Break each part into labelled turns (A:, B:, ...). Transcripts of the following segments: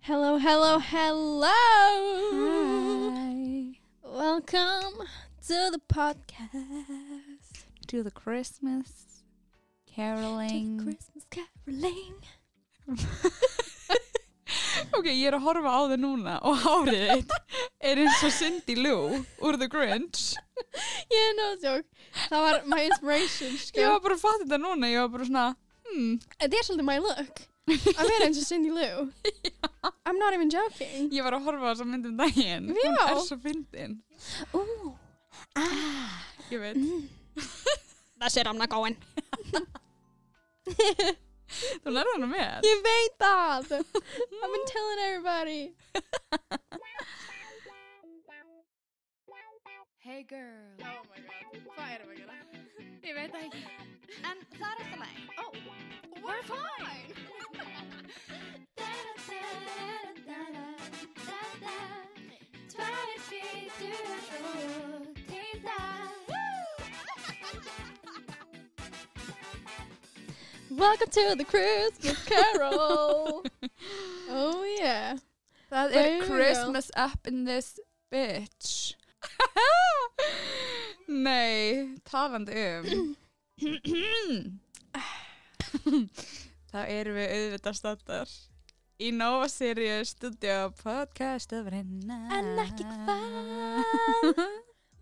A: Hello, hello, hello.
B: Hi.
A: Welcome to the podcast.
B: To the Christmas
A: To the
B: caroling.
A: Christmas caroling.
B: ok, ég er að horfa á þig núna og hárið þitt er eins og Cindy Lou úr The Grinch.
A: Yeah, no joke. Það var my inspiration,
B: Ég
A: sko.
B: var bara að fatta þetta núna, ég var bara svona, hmm,
A: Þetta er svolítið my look. Að vera eins og Cindy Lou. I'm not even joking.
B: ég var að horfa á þess að myndum daginn. Hún
A: Já.
B: er svo fyndin.
A: Ooh. Ah.
B: Ég veit,
A: That's it, I'm not going.
B: þú lærði hana með.
A: Ég veit það. I've been telling everybody.
C: Hey girl
A: Oh my god, hvað erum við að gera?
C: Ég veit það ekki En það er alltaf læg
A: Oh, we're fine.
C: Tvær skýtur og tindar
A: Welcome to the Christmas Carol. oh yeah.
B: Það
A: There you go.
B: up in this bitch. Nei, talandi um. Þá erum við auðvitað stattar í Nova Sirius Studio Podcast öfrinna.
A: En ekkert það.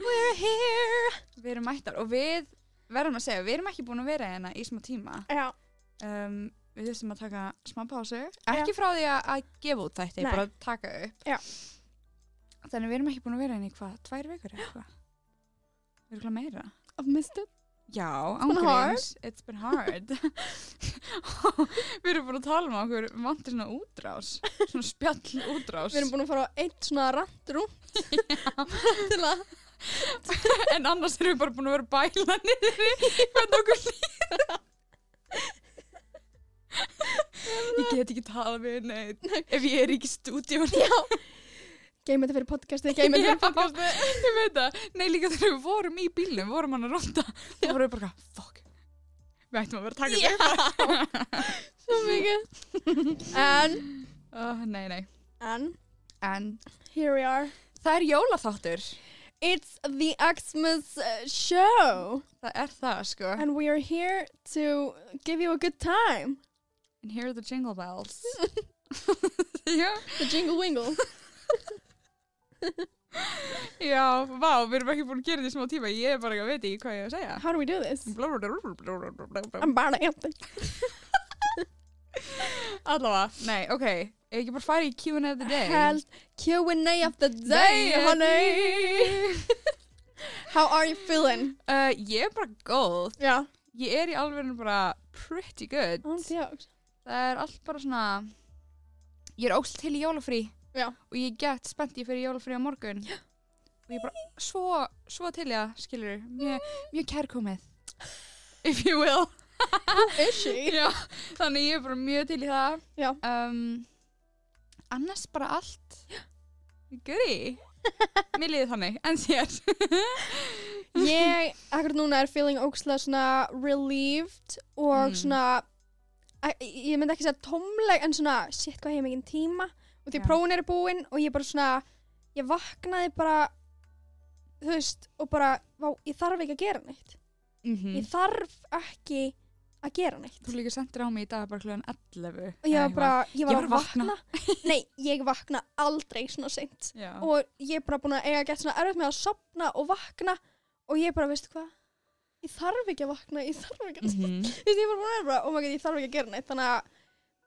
A: We're here.
B: Við erum mættar og við verðum að segja, við erum ekki búin að vera hérna í smá tíma.
A: Já,
B: Um, við þurfum að taka smá pásu. Ekki frá því að, að gefa út þætti,
A: Nei.
B: bara að taka upp.
A: Já.
B: Þannig við erum ekki búin að vera hérna í hvað, tvær vikur eða eitthvað? Við erum meira.
A: I've missed it.
B: Já,
A: been hard.
B: ángríms, it's been hard Við erum búin að tala um að okkur vantir svona útrás svona spjall útrás
A: Við erum búin að fara á eitt svona randrú. Til að,
B: en annars erum við bara búin að vera bæla niður í hvernig okkur líður Ég get ekki talað við neitt ef ég er ekki í stúdíun
A: já. Geim þetta fyrir podcastið, geim þetta fyrir podcastið.
B: Ég veit það, nei líka þegar við vorum í bílnum vorum hann að ronda þá vorum við bara, eitthvað, fuck Við ættum að vera að taka þetta upp
A: Svo mikið. En,
B: oh, Nei, nei,
A: en,
B: en
A: here we are.
B: það er jólaþáttur
A: It's the Xmas uh, show.
B: Það er það, sko.
A: And we are here to give you a good time.
B: And here are the jingle bells. já,
A: The jingle wingle.
B: já, vá, við erum ekki búin að gera þetta í smá tíma. Ég er bara ekki að veit ekki hvað ég á að segja.
A: How do we do this?
B: Allavega,
A: I'm bara empty.
B: nei, ok. Ef ekki bara fara í Q&A of the day.
A: Held Q&A of the day,
B: Day,
A: honey. How are you feeling?
B: Uh, ég er bara góð.
A: Já.
B: Ég er í alveg bara pretty good.
A: Ándjóks.
B: Það er allt bara svona... Ég er ósl til í jólafrí.
A: Já.
B: Og ég get spennt ég fyrir jólafrí á morgun. Já. Og ég er bara svo, svo til ég að skilur. Mjög, mjög kærkomið. If you will.
A: Is she?
B: Já, þannig ég er bara mjög til í það.
A: Já.
B: Um, annars bara allt. Guri. Mér liði þannig, en sér.
A: Ég, akkur núna er feeling ókslega svona relieved og
B: Mm.
A: svona, Æ, ég myndi ekki segja tómleg en svona, shit hvað hef ég mikið tíma og því
B: Já.
A: prófin eru búin og ég bara svona, ég vaknaði bara, þú veist, og bara, vá, ég þarf ekki að gera neitt.
B: Mm -hmm.
A: Ég þarf ekki að gera neitt.
B: Þú líka sendir á mig í dag bara klugan 11.
A: og ég
B: eða
A: var bara, ég var,
B: Ég var
A: að
B: að
A: vakna, nei, ég vakna aldrei svona seint
B: eitthvað. Já.
A: og ég er bara búin að eiga að geta svona erfitt með að sopna og vakna og ég er bara, veistu hvað ég þarf ekki að vakna, ég þarf ekki að mm.
B: Mhm.
A: ég er bara búin að vera bara, oh my god, ég þarf ekki að gera neitt þannig að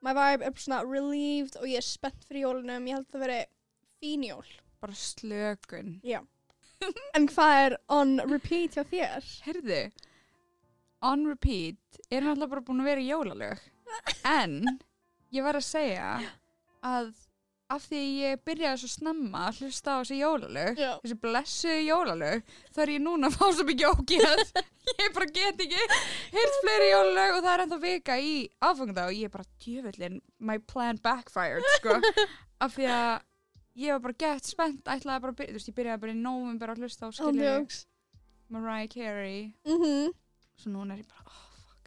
A: my vibe er bara svona relieved og ég er spennt fyrir jólunum, ég held að það veri fín jól,
B: Bara slökun.
A: en hvað er on repeat hjá þér?
B: Herðu, on repeat, er hann alltaf bara búin að vera í jólalög. En, ég var að segja að af því ég byrjaði svo snemma að hlusta á þessi jólalög,
A: Já.
B: þessi blessu jólalög þá er ég núna að fá svo mikið ógeð ég bara get ekki hirt fleiri jólalög og það er ennþá vika í áfengða og ég er bara djöfullin my plan backfired sko af því að ég var bara gett spennt ætlaði bara að byrja, þú veist ég byrjaði bara í november að hlusta á skilju
A: Ándjóks
B: Mariah Carey
A: mm -hmm.
B: svo núna er ég bara oh fuck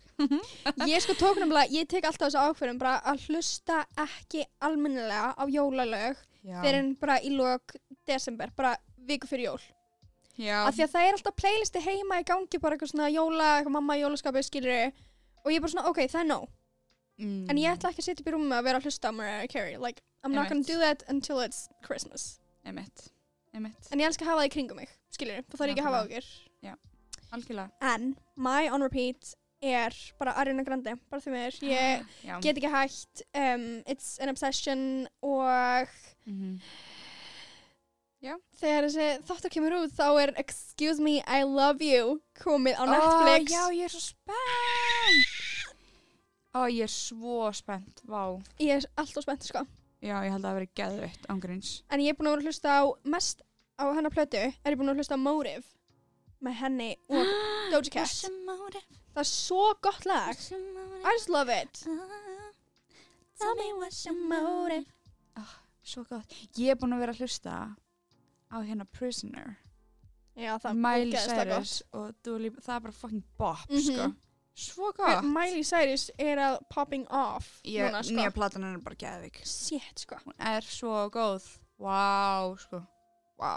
A: Ég sko tók nefnilega, ég tek alltaf þessu ákveðum bara að hlusta ekki almennilega á jólalög
B: Já.
A: fyrir en bara í lok desember, bara viku fyrir jól.
B: Já.
A: Af því að það er alltaf playlisti heima í gangi bara eitthvað svona jóla, eitthvað mamma í jólaskapi skilur og ég er bara svona, ok, það er nóg.
B: mm.
A: En ég ætla ekki að sitja upp í rúmi að vera að hlusta á Mariah Carey. Like, I'm not gonna
B: Einmitt.
A: do that until it's Christmas.
B: Einmitt. Einmitt.
A: En ég elska að hafa það í kringum mig, skilur, það þarf ég ekki að hafa ágjur.
B: Algjörlega.
A: En, my on repeat er bara Ariana Grande, bara því mér. Ég
B: Já.
A: get ekki hægt, um, it's an obsession og
B: Mhm.
A: þegar þessi þáttur kemur út þá er Excuse me, I love you komið á
B: Ó,
A: Netflix.
B: já, ég er svo spennt. Ó, ég er svo spennt. Vá.
A: Ég er alltaf spennt, sko.
B: Já, ég held að það hafi verið geðveitt ángríns.
A: En ég er búin að vera að hlusta á mest á hennar plötu, er ég búin að hlusta á Motive með henni og Doja Cat. Það er svo gott lag. I just love it.
C: Tell me what's your
A: motive?
B: Svo gott. Ég er búin að vera að hlusta á hérna Prisoner.
A: Já, það er
B: Miley
A: ógeðslega gott.
B: Cyrus og Dua Lipa. Það er bara fucking bop,
A: Mhm.
B: sko. Svo gott.
A: Miley Cyrus er að popping off
B: Ég,
A: núna, sko.
B: Nýja platan hennar er bara geðveik.
A: Shit, sko.
B: Hún er svo góð. Vá, sko. Vá.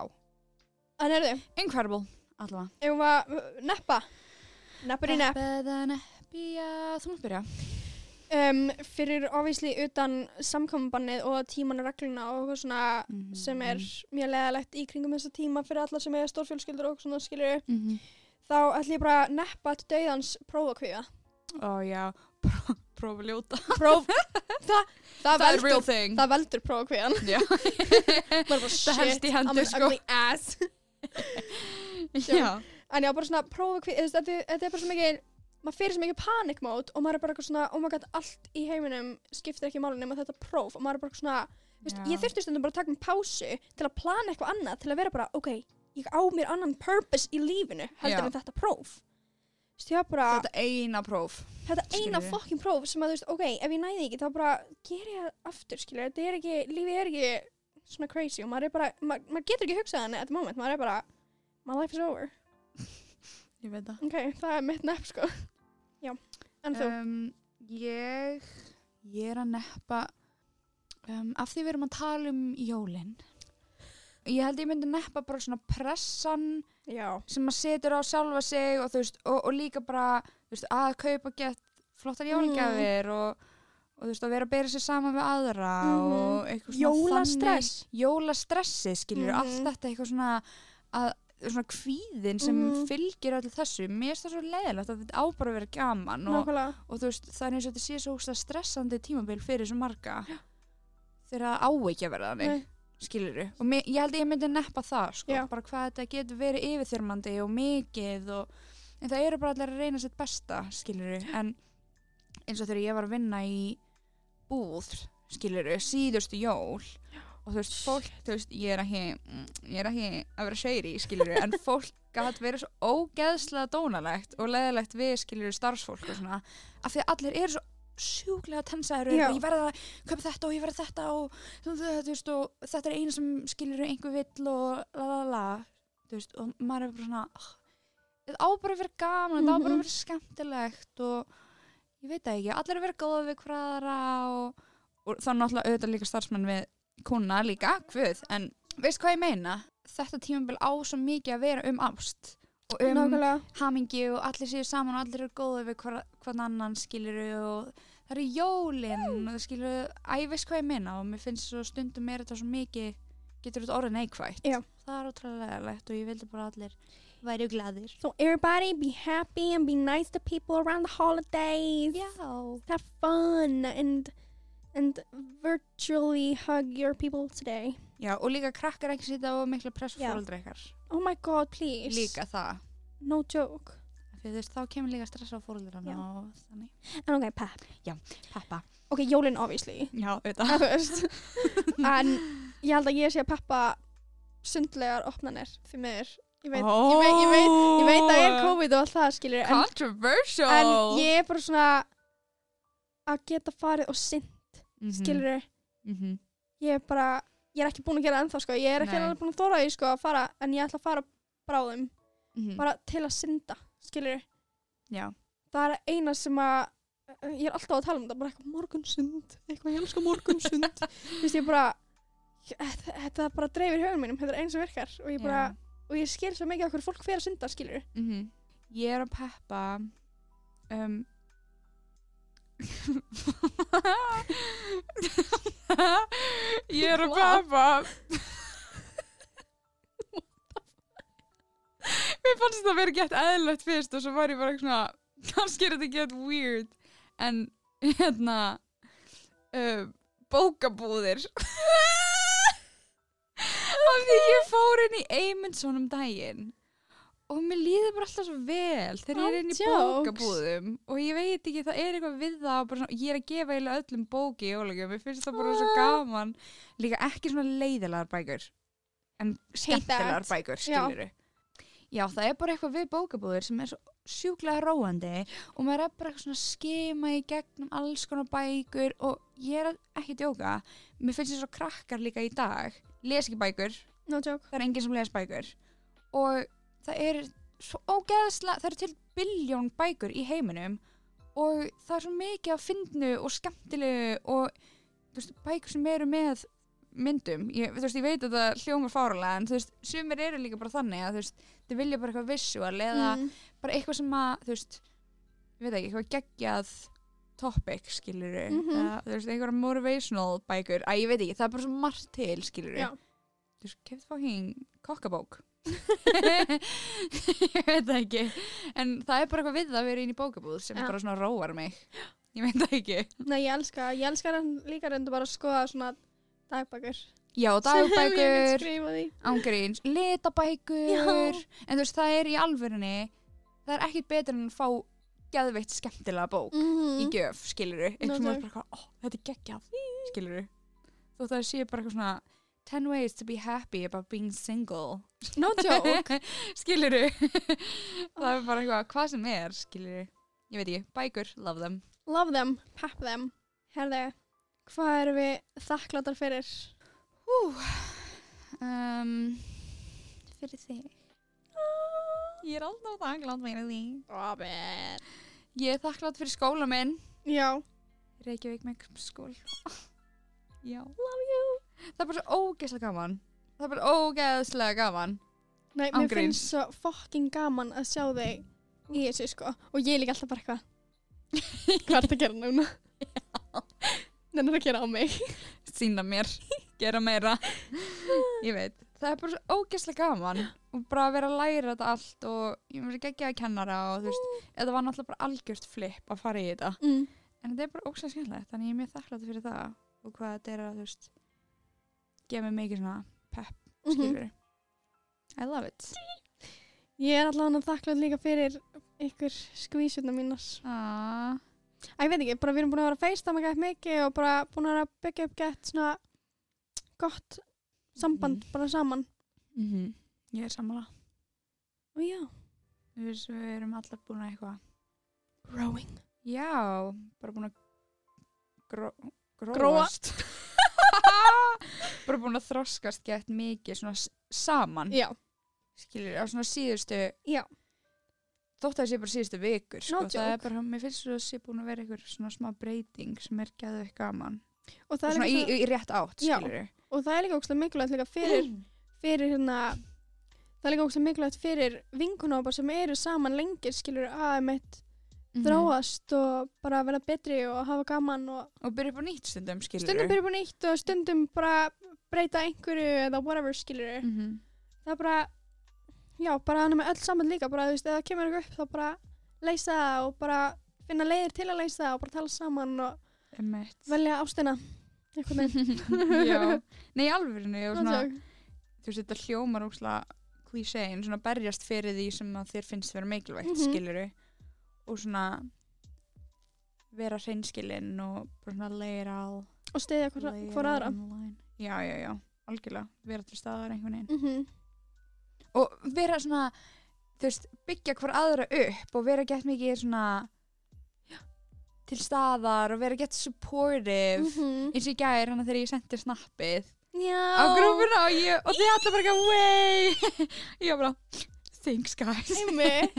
A: En erðu,
B: Incredible. Allavega.
A: ef við að uh, neppa, neppur í nepp,
B: Beðan eppja. Þú mátt byrja.
A: um, fyrir ofísli utan samkombannið og tíman og regluna og eitthvað svona
B: Mm.
A: sem er mjög leðalegt í kringum þessa tíma fyrir alla sem er stórfjölskyldur og svona skilur
B: Mm -hmm.
A: þá ætlum ég bara að neppa til dauðans prófakvíða.
B: Ó, já. Pró- Prófa að ljóta.
A: Próf, það, það,
B: Það er real
A: veldur,
B: thing.
A: það veldur prófakvíðan.
B: Já.
A: Bara,
B: Það helst í hendur, sko."
A: I'm an ugly ass.
B: Já.
A: En já, bara svona prófakvíð, þú veist, þetta, þetta er bara svo mikið, maður fyrir svo mikið panic mode og maður er bara eitthvað svona, oh my god, allt í heiminum skiptir ekki máli nema þetta próf og maður er bara eitthvað svona, þú veist,
B: Já.
A: ég þurfti stundum bara að taka um pásu til að plana eitthvað annað, til að vera bara, ok, ég á mér annan purpose í lífinu heldur
B: Já.
A: en þetta próf. Þú veist, ég var bara,
B: Þetta eina próf.
A: þetta eina
B: skilurðu.
A: fokkin próf sem að, þú veist, ok, ef ég næði ekki, þá bara ger ég það aftur, skilur, þetta er ekki, lífið er ekki svona crazy og maður er bara, maður, maður getur ekki hugsað þannig at the moment, maður er bara, my life is over.
B: Ég veit það.
A: Ok, það er mitt nepp sko. Já, en þú?
B: Um, ég, ég er að neppa, um, af því við erum að tala um jólinn, ég held ég myndi neppa bara svona pressan
A: já.
B: sem maður setur á sjálfa sig og, þú veist, og, og líka bara þú veist, að kaupa gett flottar jólagjafir og, og þú veist, að vera að bera sér saman við aðra
A: Mm. Mhm.
B: og eitthvað svona
A: Jólastress.
B: þannig- Jólastressi, skilur,
A: Mhm.
B: allt þetta eitthvað svona að svona kvíðin sem
A: Mhm.
B: fylgir öllu þessu, mér er það svo leiðilegt að þetta á bara að vera gaman og,
A: Nákvæmlega.
B: og þú veist, það er eins og þetta sé svo ógeðslega stressandi tímabil fyrir svo marga þegar það á ekki að vera þannig
A: Nei.
B: skilur þú, og mér, ég held að ég myndi neppa það sko,
A: Já.
B: bara hvað þetta getur verið yfirþyrmandi og mikið og, en það eru bara allir að reyna sitt besta skilur þú, en eins og þegar ég var að vinna í búð skilur þú, síðustu jól og þú veist, fólk, þú veist, ég er ekki ég er ekki að vera seiri, skilur þú en fólk gætt verið svo ógeðslega dónalegt og leðilegt við, skilur þú, starfsfólk og svona, af því að allir eru svo sjúklega tensaður og eru
A: Já.
B: bara, ég verða að köpa þetta og ég verða þetta og, þú veist, og þetta er eina sem skilur einhver vill og la la la þú veist, og maður er bara svona "Ah, þetta á bara að vera gaman, þetta á bara
A: Mhm.
B: að vera skemmtilegt og ég veit það ekki, allir að vera góða við hverðara og, og þá náttúrulega auðvitað líka starfsmenn við kuna líka, hvud, en veist hvað ég meina? Þetta tímabil á svo mikið að vera um ást og um
A: Nákvæmlega.
B: hamingi og allir séu saman og allir eru góði við hvar, hvern annan skiluru og það eru jólin og það skiluru, að ég veist hvað ég minna og mér finnst svo stundum er þetta svo mikið getur þetta orðið neikvægt
A: Já.
B: það er ótrúlega leitt og ég vildi bara að allir væri gladir
A: So everybody be happy and be nice to people around the holidays.
B: Já,
A: Have fun and and virtually hug your people today.
B: Já og líka krakkar ekki sýta og mikla press
A: Já.
B: fóröldra ykkar
A: Oh my god, please.
B: líka það
A: No joke.
B: Af því þú veist, þá kemur líka stress á fóröldrana
A: Já.
B: og þannig
A: En ok, pep.
B: Peppa
A: Ok, jólin obviously.
B: Já,
A: En
B: auðvitað
A: þú veist. en ég held að ég sé að peppa sundlegar opnanir því miður. Ég veit, ég veit, ég veit, ég veit að það er COVID og allt það skilur. en-
B: Controversial
A: en ég er bara svona að geta farið og sinn
B: mm -hmm.
A: skilur
B: mm -hmm.
A: ég er bara, ég er ekki búin að gera það ennþá sko, ég er ekki
B: Nei.
A: alveg búin að þóra því sko að fara, en ég ætla að fara bráðum, bara til að synda skilur,
B: mhm. Já
A: það er eina sem að ég er alltaf að tala um þetta, bara eitthvað morgunsund eitthvað ég elska morgunsund þú veist ég bara þetta þetta bara dreifir höfum mínum, þetta er eina sem virkar og ég bara, og ég skil svo mikið okkur fólk fer að sunda skilur,
B: -hmm. Ég er að peppa um, Ég er að peppa Mér fannst það verið gett eðlögt fyrst og svo var ég bara eitthvað svona kannski er þetta gett weird en hérna uh, bókabúðir af því ég fór inn í Eymundsson um daginn og mér líður bara alltaf svo vel þegar ég er inn í
A: Án jokes.
B: bókabúðum og ég veit ekki, það er eitthvað við það og bara svona, ég er að gefa eiginlega öllum bóki í jólagjum, mér finnst það bara
A: Ah.
B: svo gaman líka ekki svona leiðilegar bækur en skemmtilegar
A: that.
B: bækur,
A: Já.
B: skilur Já, það er bara eitthvað við bókabúðir sem er svo sjúklega róandi og maður er bara eitthvað svona að skima í gegnum alls konar bækur og ég er ekki að djóka mér finnst þess að krakkar líka í dag les ekki bækur,
A: no joke
B: það er enginn sem les bækur og það er svo ógeðslega, það eru til biljón bækur í heiminum og það er svo mikið að fyndnu og skemmtilegu og þú veist, bækur sem eru með myndum, ég, þú veist, ég veit að það hljómar fáralega en þú veist, sumir eru líka bara þannig að þú veist, þau vilja bara eitthvað visual eða
A: Mm.
B: bara eitthvað sem að, þú veist, ég veit ekki, eitthvað geggjað topic, skilur mm
A: Mhm.
B: þú veist, einhverja motivational bækur, að ég veit ekki, það er bara svo margt til, skilur
A: Já.
B: þú veist, kefð fucking kokkabók ég veit það ekki en það er bara eitthvað við það að vera inn í bókabúð sem
A: Já.
B: bara svona róar mig ég veit það ekki
A: Nei, ég elska, ég elska hann líka reyndu bara að skoða svona dagbækur.
B: já,
A: Sem ég get
B: dagbækur,
A: skrifað í.
B: ángríns litabækur
A: Já.
B: en þú veist, það er í alvörinni það er ekkit betur en að fá geðveitt skemmtilega bók í gjöf, skiluru
A: Nó,
B: eitthvað sem er
A: takk.
B: bara, eitthvað, ó, þetta er geggjað, skiluru þú það sé bara eitthvað svona 10 ways to be happy about being single
A: No joke.
B: skiluru það er bara eitthvað, hvað sem er, skiluru ég veit ekki, bækur, love them
A: Love them, pep them. Herði, hvað erum við þakkláttar fyrir?
B: Hú, um, fyrir þig ég er alltaf þakklátt fyrir því
A: Robert.
B: ég er þakklátt fyrir skóla minn
A: Já.
B: Reykjavík með skól já, love you það er bara svo ógeðslega gaman það er bara ógeðslega gaman
A: Nei,
B: Án
A: mér
B: gríns.
A: finnst svo fokkin gaman að sjá þig í þessu sko. Og ég er líka alltaf bara eitthvað. hvað er þetta að gera núna? Nei, þetta að gera á mig.
B: sína mér, gera meira ég veit, það er bara svo ógeðslega gaman og bara að vera að læra þetta allt og ég mér ekki ekki að kennara og þú veist, þetta var náttúrulega bara algjört flip að fara í þetta,
A: Mm.
B: en þetta er bara ógeðslega skemmtilegt, þannig ég er mjög þakklátt fyrir það og hvað þetta er að, þú veist gefa mér mikið svona pepp,
A: Mhm.
B: skilur I love it
A: Ég er allavega þakklátt líka fyrir ykkur skvísuna mínar.
B: ah,
A: Æ, ég veit ekki, bara við erum búin að vera að feistama gett mikið og bara búin að vera að byggja upp gett svona gott samband
B: Mhm.
A: bara saman.
B: mm ég er sammála
A: Og já.
B: Þú veist, við erum allar búin að eitthvað
A: Rowing.
B: Já, bara búin að gró,
A: Gróa.
B: gróast bara búin að þroskast gett mikið svona s- saman
A: Já,
B: skilur, á svona síðustu
A: Já.
B: þótt að það sé bara síðustu vikur sko,
A: No
B: það er
A: joke.
B: bara, mér finnst svo að sé búin að vera einhver svona smá breyting sem er gæðu ekki gaman
A: og það,
B: og
A: er
B: svona í,
A: líka,
B: í, í rétt átt
A: Já.
B: skilur
A: í... og það er líka ógstlega mikilvægt líka fyrir, fyrir hérna, það er líka ógstlega mikilvægt fyrir vinkunópar sem eru saman lengir skilur að mitt
B: Mhm.
A: þróast og bara vera betri og hafa gaman og
B: og byrja upp á nýtt stundum skilur
A: stundum byrja búin eitt og stundum bara breyta einhverju eða whatever skilur
B: Mm. Mhm,
A: það er bara já, bara hann er með öll saman líka bara, þú veist, ef það kemur eitthvað upp þá bara leysa það og bara finna leiðir til að leysa það og bara tala saman og velja ástina einhvern veginn
B: Já, nei, alveg og svona,
A: Þannig
B: þú veist, þetta hljómar ógslag klísé, en svona berjast fyrir því sem að þér finnst vera mikilvægt,
A: Mhm.
B: mm og svona vera hreinskilinn og bara svona layer all
A: að- og stiðja hvora,
B: layer
A: hvora aðra
B: on the line. Já, já, já, algjörlega, vera til staðar einhvern veginn
A: mm -hmm.
B: og vera svona, þú veist, byggja hvora aðra upp og vera gett mikið svona til staðar og vera gett supportive
A: Mhm.
B: eins og í gær, hann að þegar ég sendi snappið
A: já
B: á grúfuna og, ég, og þið allir bara eitthvað way ég var bara things guys
A: einmitt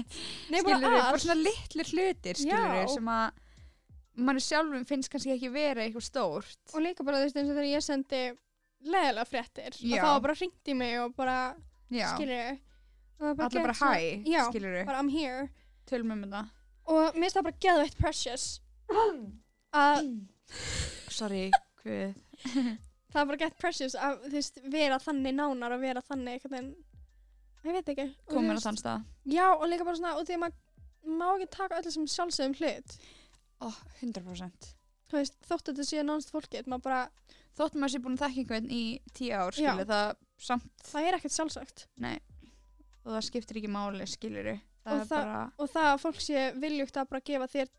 A: Nei, bara
B: skilur bara
A: allt.
B: svona litlir hlutir skilur
A: Já.
B: sem að mann sjálfum finnst kannski ekki vera eitthvað stórt
A: og líka bara þú veist eins og þegar ég sendi leðilega fréttir
B: Já.
A: og þá var bara hringt í mig og bara
B: já,
A: skilur
B: allir bara hæ,
A: já,
B: skilur við
A: bara I'm here
B: tölum um þetta
A: og mér finnst það bara geðveitt precious að
B: sorry, hvað
A: það er bara gett precious að þú veist vera þannig nánar og vera þannig einhvern veginn ég veit ekki Og þú
B: komin á
A: veist-
B: þann stað
A: já og líka bara svona og því að maður má ekki taka öllu sem sjálfsögum hlut
B: oh, 100%
A: þú veist þótt að þetta sé nánst fólkið maður bara
B: þótt maður sé búin að þekka einhvern í tíu ár skilur
A: Já.
B: það samt
A: það er ekkert sjálfsagt
B: og það skiptir ekki máli skilur það
A: Og
B: er
A: það-
B: bara
A: og það að fólk sé viljugt að bara gefa þér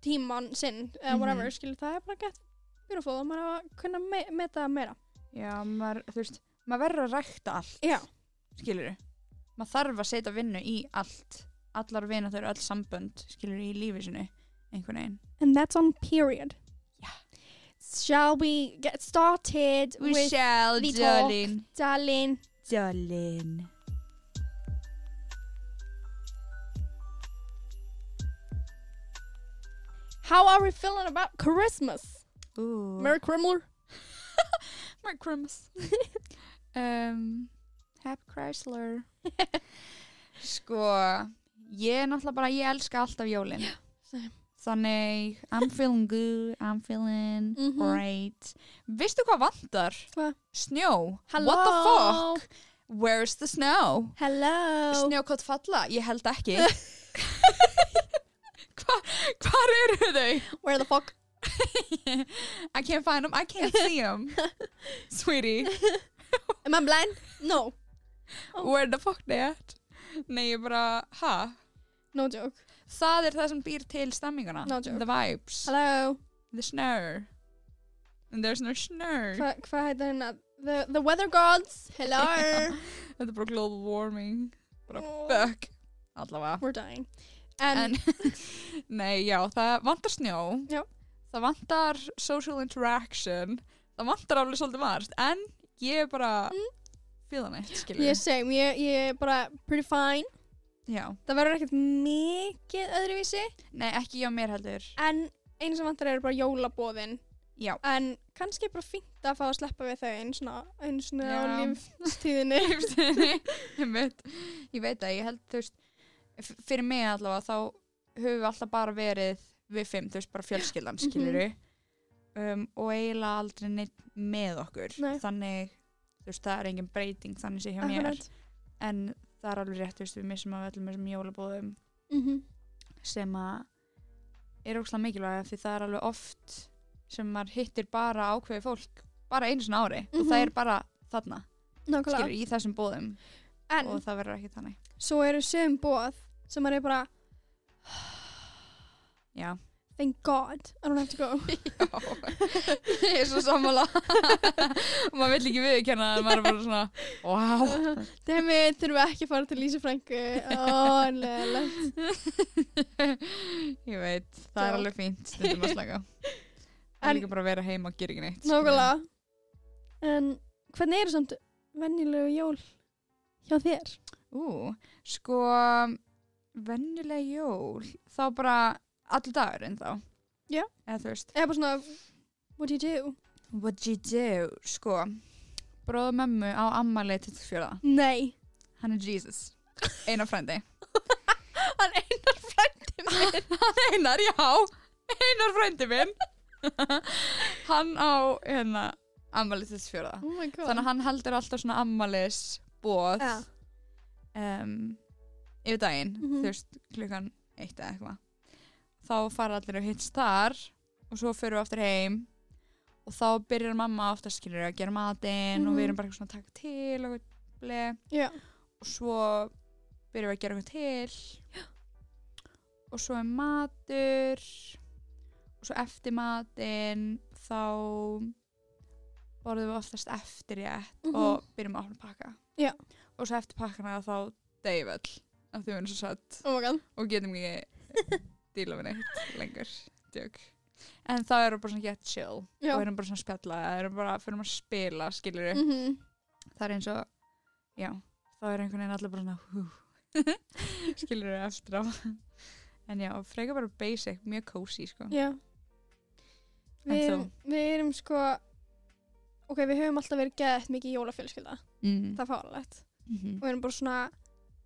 A: tíman sinn eða
B: Mhm.
A: whatever, skilur, það er bara gett beautiful og maður á að kunna me meta meira
B: já, maður, þú veist, maður verður að rækta allt
A: Já.
B: skilur maður þarf að setja vinnu í allt allar vinna þau eru öll sambönd skilur í lífi sinu einhvern veginn
A: and that's on period
B: Yeah.
A: shall we get started with
B: shall,
A: the talk, darling
B: Darling.
A: how are we feeling about Christmas
B: Ooh.
A: Merry Krimler
B: Merry Christmas. um, Happy Chrysler. sko, ég er náttúrulega bara, ég elska alltaf jólin.
A: same.
B: Þannig, I'm feeling good, I'm feeling
A: Mhm.
B: great. Vistu hvað vantar?
A: Hvað?
B: Snjó.
A: hello
B: What the fuck? Where's the snow?
A: hello
B: Snjókott falla? Ég held ekki. Hva, hvar eru þau?
A: where the fuck
B: I can't find them, I can't see them. Sweetie.
A: am I blind no
B: Where the fuck they at? Nei, ég bara, ha?
A: no joke
B: Það er það sem býr til stemminguna.
A: No joke.
B: The vibes.
A: hello
B: The snur. And there's no snur.
A: Hva- hvað heitir hérna the, the weather gods hello
B: Þetta er bara global warming. Bara
A: Oh.
B: fuck. Allavega.
A: we're dying and,
B: En, nei, já, það vantar snjó.
A: Já.
B: Það vantar social interaction. Það vantar alveg svolítið margt. En ég er bara mm. fílan eitt, skilur.
A: Ég same, ég, ég er bara pretty fine.
B: Já.
A: Það verður ekkert mikið öðruvísi,
B: Nei, ekki ég og mér heldur.
A: en einu sem vantar eru bara jólabóðin.
B: Já.
A: En kannski er bara fínt að fá að sleppa við þau einu svona, einu svona á
B: Já.
A: lífstíðinni.
B: Nei, einmitt. ég veit að ég held þú veist, f- fyrir mig allavega þá höfum við alltaf bara verið við fimm, þú veist, bara fjölskyldan
A: Mhm.
B: skilur um, og eiginlega aldrei neitt með okkur
A: Nei.
B: þannig, þú veist, það er engin breyting þannig sé hjá mér,
A: Akkurat.
B: en það er alveg rétt, þú veist, við missum af öllum þessum jólabóðum
A: Mm -hmm.
B: sem að er ókslega mikilvæg því það er alveg oft sem maður hittir bara ákveði fólk bara einu svona ári og það
A: Mhm.
B: er bara þarna, skilur,
A: Nákvæmlega.
B: í þessum bóðum
A: En
B: og það verður ekki þannig
A: svo eru sögum bóð sem maður er bara,
B: Já.
A: thank god, I don't have to go.
B: Ég er svo sammála. maður vill ekki viðkjanna en maður er bara svona, wow.
A: Damn it, þurfum við ekki að fara til Lísa Franku. Ó, en leiðilegt.
B: Ég veit, það er
A: Joke.
B: alveg fínt stundum að slaka. Það
A: En-
B: er líka bara að vera heima og gera ekki neitt. skilur.
A: Nákvæmlega. En hvernig eru samt venjulegu jól hjá þér?
B: Ú, sko, venjulega jól, þá bara allir dagur en þá.
A: Já.
B: Eða þú veist.
A: Eða bara svona, what do you do?
B: What you do, sko, bróða mömmu á ammalið 24.
A: Nei.
B: Hann er Jesus. Einar frændi.
A: Hann einar frændi minn.
B: Einar, já, Einar frændi minn Hann á hérna, ammalið þess fjóra
A: Oh my god.
B: Þannig að hann heldur alltaf svona ammalis bóð
A: Ja.
B: um, yfir daginn
A: Mhm.
B: þú veist, klukkan eitt eða eitthvað þá fara allir að hittst þar og svo förum við aftur heim og þá byrjar mamma ofta skilur að gera matinn og við
A: Mhm.
B: erum bara eitthvað svona að taka til og blei
A: Já.
B: og svo byrjum við að gera eitthvað til og svo er matur og svo eftir matinn þá borðum við oftast eftir rétt
A: Mhm.
B: og byrjum að opna pakka
A: Já.
B: og svo eftir pakkana þá deyjum við öll af því við erum svo satt
A: Oh my god.
B: og getum ekki díla við neitt lengur Djök. en þá erum við bara svona get chill
A: Já.
B: og erum bara svona að spjalla eða erum bara fyrir að spila skilur
A: Mhm.
B: það er eins og já, þá er einhvern veginn allir bara svona hú, skilur þau eftir á en já, frekar bara basic, mjög cozy sko.
A: Já. Við
B: þú?
A: erum, við erum sko, ok, við höfum alltaf verið geðið mikið jólafjölskylda,
B: mm.
A: það er fáralegt.
B: Mhm.
A: Og við erum bara svona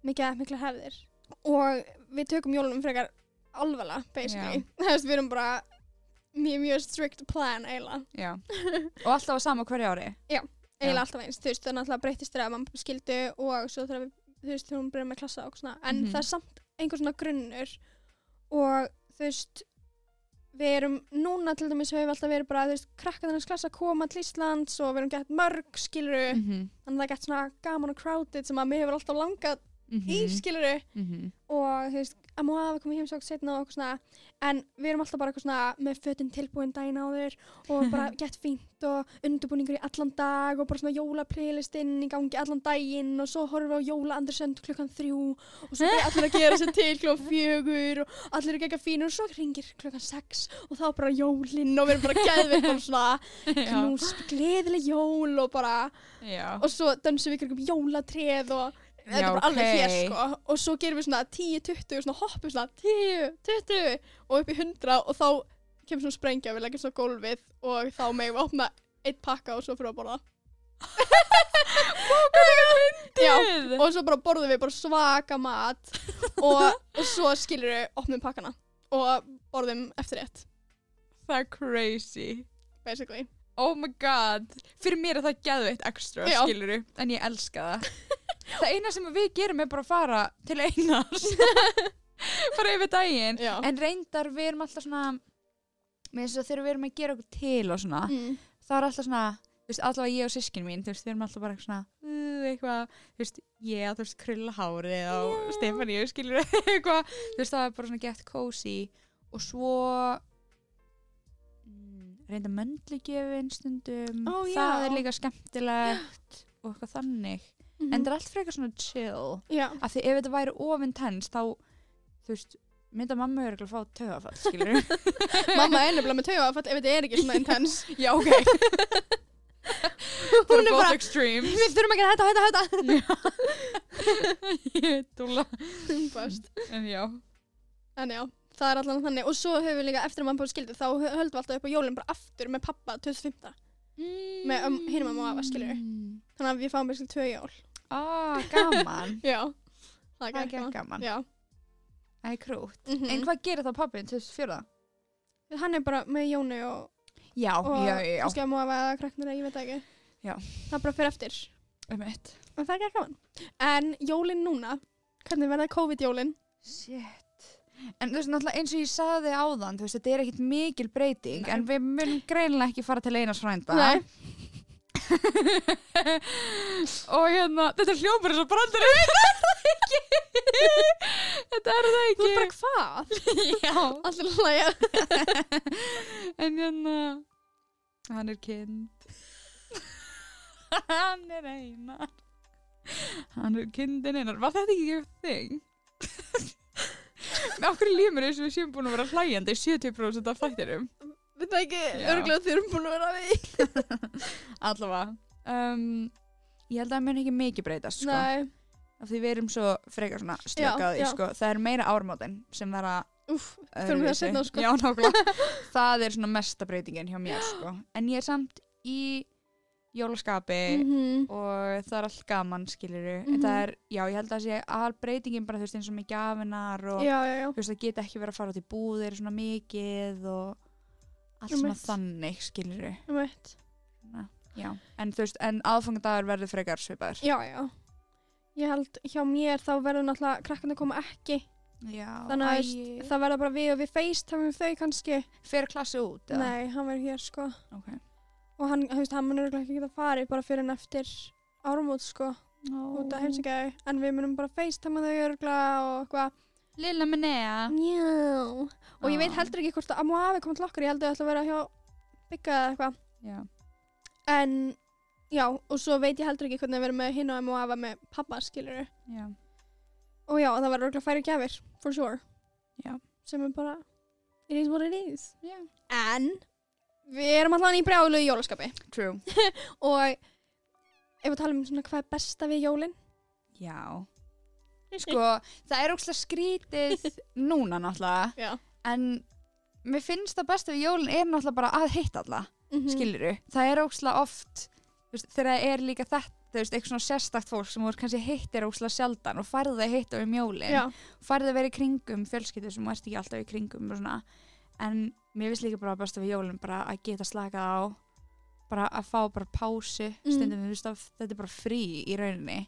A: mikið geðið mikla hefðir. Og við tökum jólunum frekar alveglega, basically. Þú veist, við erum bara mjög, mjög strict plan eiginlega.
B: já. og alltaf á sama hverju ári
A: Eiginlega alltaf eins, þú veist, það er náttúrulega breytist þegar mann skildu og svo þegar við, þú veist, þegar hún byrjar með klassa og svona. En
B: Mhm.
A: það er samt einhver svona grunnur og þú veist, við erum núna til dæmis höfum við alltaf verið bara, þú veist, krakkaðarnas klassa koma til Íslands og við erum gett mörg skiluru.
B: -hmm.
A: þannig að það er gett svona gaman og crowded sem að mér hefur alltaf langað í
B: Mhm.
A: skiluru og þú veist, að múið hafa komið heimsók setna og eitthvað svona en við erum alltaf bara eitthvað svona með fötin tilbúin dæna á þér og bara gett fínt og undurbúningur í allan dag og bara svona jólaplaylistinn í gangi allan daginn og svo horfum við á jóla Andersönd klukkan þrjú og svo byrja allir að gera sér til klukkan fjögur og allir eru gegga fínur og svo ringir klukkan sex og þá er bara jólinn og við erum bara geðvitt og svona knús, gleðileg jól og bara
B: já.
A: og svo dönsum við ykkur um jólatreð og þetta er
B: Já,
A: bara alveg hér
B: ok.
A: sko og svo gerum við svona 10-20 og svona hoppum svona 10-20 og upp í 100 og þá kemur svona sprengja og við leggjum svona á gólfið og þá megum við opna eitt pakka og svo fyrir að borða Já,
B: Guð.
A: og svo bara borðum við bara svaka mat og, og svo skilur við opnum pakkana og borðum eftir rétt
B: það er crazy
A: basically
B: oh my god, fyrir mér er það gæðveitt ekstra,
A: Já.
B: skiluru, en ég elska það það eina sem við gerum er bara að fara til einars bara yfir daginn
A: Já.
B: en reyndar við erum alltaf svona með þess að þegar við erum að gera okkur til og svona,
A: mm.
B: þá er alltaf svona þú veist, allavega ég og sískin mín, þú veist, við erum alltaf bara eitthvað svona, uh, eitthvað, þú veist, ég þú veist, krulla hárið á yeah. Stefaníu, skilur eitthvað, þú veist, það er bara svona gett cozy og svo mm, reynda möndlugjöfin stundum,
A: Ó,
B: það
A: já.
B: er líka skemmtilegt og eitthvað þannig, en
A: Mhm.
B: það er allt frekar svona chill,
A: Mm-hmm. já,
B: af því ef þetta væri ofintens, þá, þú veist, mynda mamma er eitthvað að fá töfafall, skilur
A: mamma er nefnilega með tauga ef þetta er ekki svona intense
B: já, ok
A: Hún er
B: both
A: bara-
B: extremes
A: við þurfum að gera þetta, þetta, þetta
B: ég er dúlla
A: Best.
B: en já
A: En já, það er allan þannig og svo höfum við líka eftir að mamma búið skildu þá hö- höldum við alltaf upp á jólinn bara aftur með pappa 2015 Mm. Með öm- hinum ömmu og afa, skilurðu. þannig að við fáum við skildu tvö jól
B: ah, gaman
A: Já, það er ekki
B: það er ekki
A: gaman
B: gaman
A: Já,
B: það er krútt
A: mhm.
B: en hvað gerir það pappin 2004
A: hann er bara með Jónu og,
B: já,
A: og
B: já, já, já
A: kannski að móa eða krakknir eða ég veit það ekki
B: Já.
A: Það er bara fyrir eftir,
B: um eitt
A: en það er ekki gaman En jólinn núna, hvernig verða COVID-jólinn?
B: shit en þú veist náttúrulega eins og ég saði áðan þú veist þetta er ekkit mikil breyting
A: Nei.
B: en við munum greinilega ekki fara til Einars frænda
A: Nei.
B: og hérna þetta er hljómur eins og brandur þetta er það
A: Þú
B: ekki
A: er bara hvað?
B: já
A: Allir hlæja
B: En hérna Hann er kind Hann er einar Hann er kindin einar Var þetta ekki your thing? Af hverju límur eins og við séum búin að vera hlægjandi í 70% af þættinum
A: Við það ekki,
B: Já.
A: örgulega þið erum búin að vera við
B: Allavega um, Ég held að það mun ekki mikið breytast sko.
A: Nei,
B: af því við erum svo frekar svona slökaði
A: já.
B: sko. það er meira ármótin sem vera
A: úff, þurfum við að
B: öðruvísi.
A: setna sko
B: Já, nákvæmlega. það er svona mesta breytingin hjá mér, sko. En ég er samt í jólaskapi
A: Mhm.
B: og það er allt gaman, skiliru.
A: Mhm.
B: En það er, já, ég held að það sé all breytingin bara, þú veist, eins og með gafinar og,
A: Já, já, já
B: þú veist, það geta ekki verið að fara út í búðir svona mikið og allt svona
A: Einmitt.
B: þannig, skiliru.
A: Um eitt
B: Já, en þú veist, en aðfangadagur verður frekar svipaður.
A: Já, já. Ég held hjá mér þá verður náttúrulega krakkarnir koma ekki.
B: Já,
A: Þannig að þú veist, það verður bara við og við facetime um þau kannski.
B: fer klassi út, eða?
A: Nei, hann verður hér sko.
B: Ok.
A: Og hann, þú veist, hann mun örugglega ekki geta farið bara fyrir en eftir árumót sko.
B: Ó.
A: Út að heimsækja þau. En við munum bara facetime þau örgulega og eitthvað.
B: Lilla Minea.
A: Mm. Já. Og ég veit
B: Ó.
A: heldur ekki hvort að amma og afi koma til okkur. Ég held að þau ætla að vera hjá byggað eða eitthvað.
B: Já.
A: En, já, og svo veit ég heldur ekki hvernig að vera með hinn og amma og afa með pappa, skilur
B: Já.
A: Og já, það verður örgulega færi gjafir, for sure.
B: Já.
A: Sem er bara, it is what it is.
B: Já.
A: En, við erum allan í brjálu í jólaskapi.
B: True.
A: Og ef við talum um svona hvað er besta við jólinn,
B: Já. sko, það er ókslega skrítið núna náttúrulega
A: Já.
B: en mér finnst það best við jólin er náttúrulega bara að hitta alla
A: Mm
B: skiliru, það er ókslega oft þú veist, þegar það er líka þetta þú veist, eitthvað svona sérstakt fólk sem þú veist, kannski hittir ókslega sjaldan og færðu það að hitta um jólin
A: Já.
B: færðu að vera í kringum fjölskyldur sem þú ert ekki alltaf í kringum og svona en mér finnst líka bara best við jólin bara að geta slakað á bara að fá bara pásu
A: Mm.
B: stundum, þú veist, að þetta er bara frí í rauninni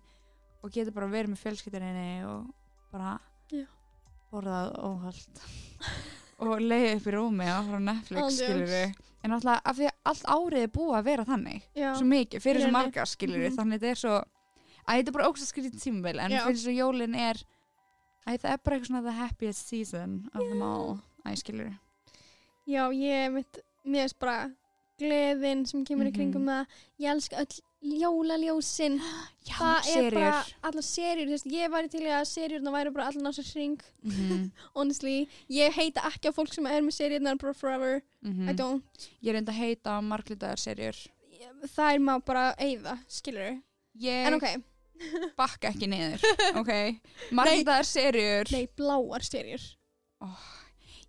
B: og geta bara verið með fjölskyldurinni og bara
A: Já.
B: borðað óhald og leiði upp í rúmi á frá Netflix,
A: Án
B: skilur en alltaf af því að allt árið er búið að vera þannig
A: Já.
B: svo mikið, fyrir
A: Í
B: svo
A: rauninni.
B: marga skilur
A: Mhm.
B: þannig þetta er svo að þetta er bara ógst að skrítið tímabil en
A: Já.
B: fyrir svo jólin er að það er bara eitthvað svona the happiest season of them all að skilur
A: Já, ég mitt, mér finnst bara gleðin sem kemur
B: Mhm.
A: í kringum það. Ég elska öll jólaljósin. það
B: já,
A: er bara
B: seriur
A: allar serjur. Þú veist, ég væri til í að serjurna væri bara allar náttúrulega hring.
B: Mhm,
A: Honestly, ég heita ekki á fólk sem er með serjurnar bara forever. I
B: mhm.
A: don't.
B: ég er enda að heita marglitaðar seriur
A: Ég- Það er maður bara að eyða, skilur
B: ég
A: En ok,
B: bakka ekki niður ok, marglitaðar seriur
A: nei, bláar serjur.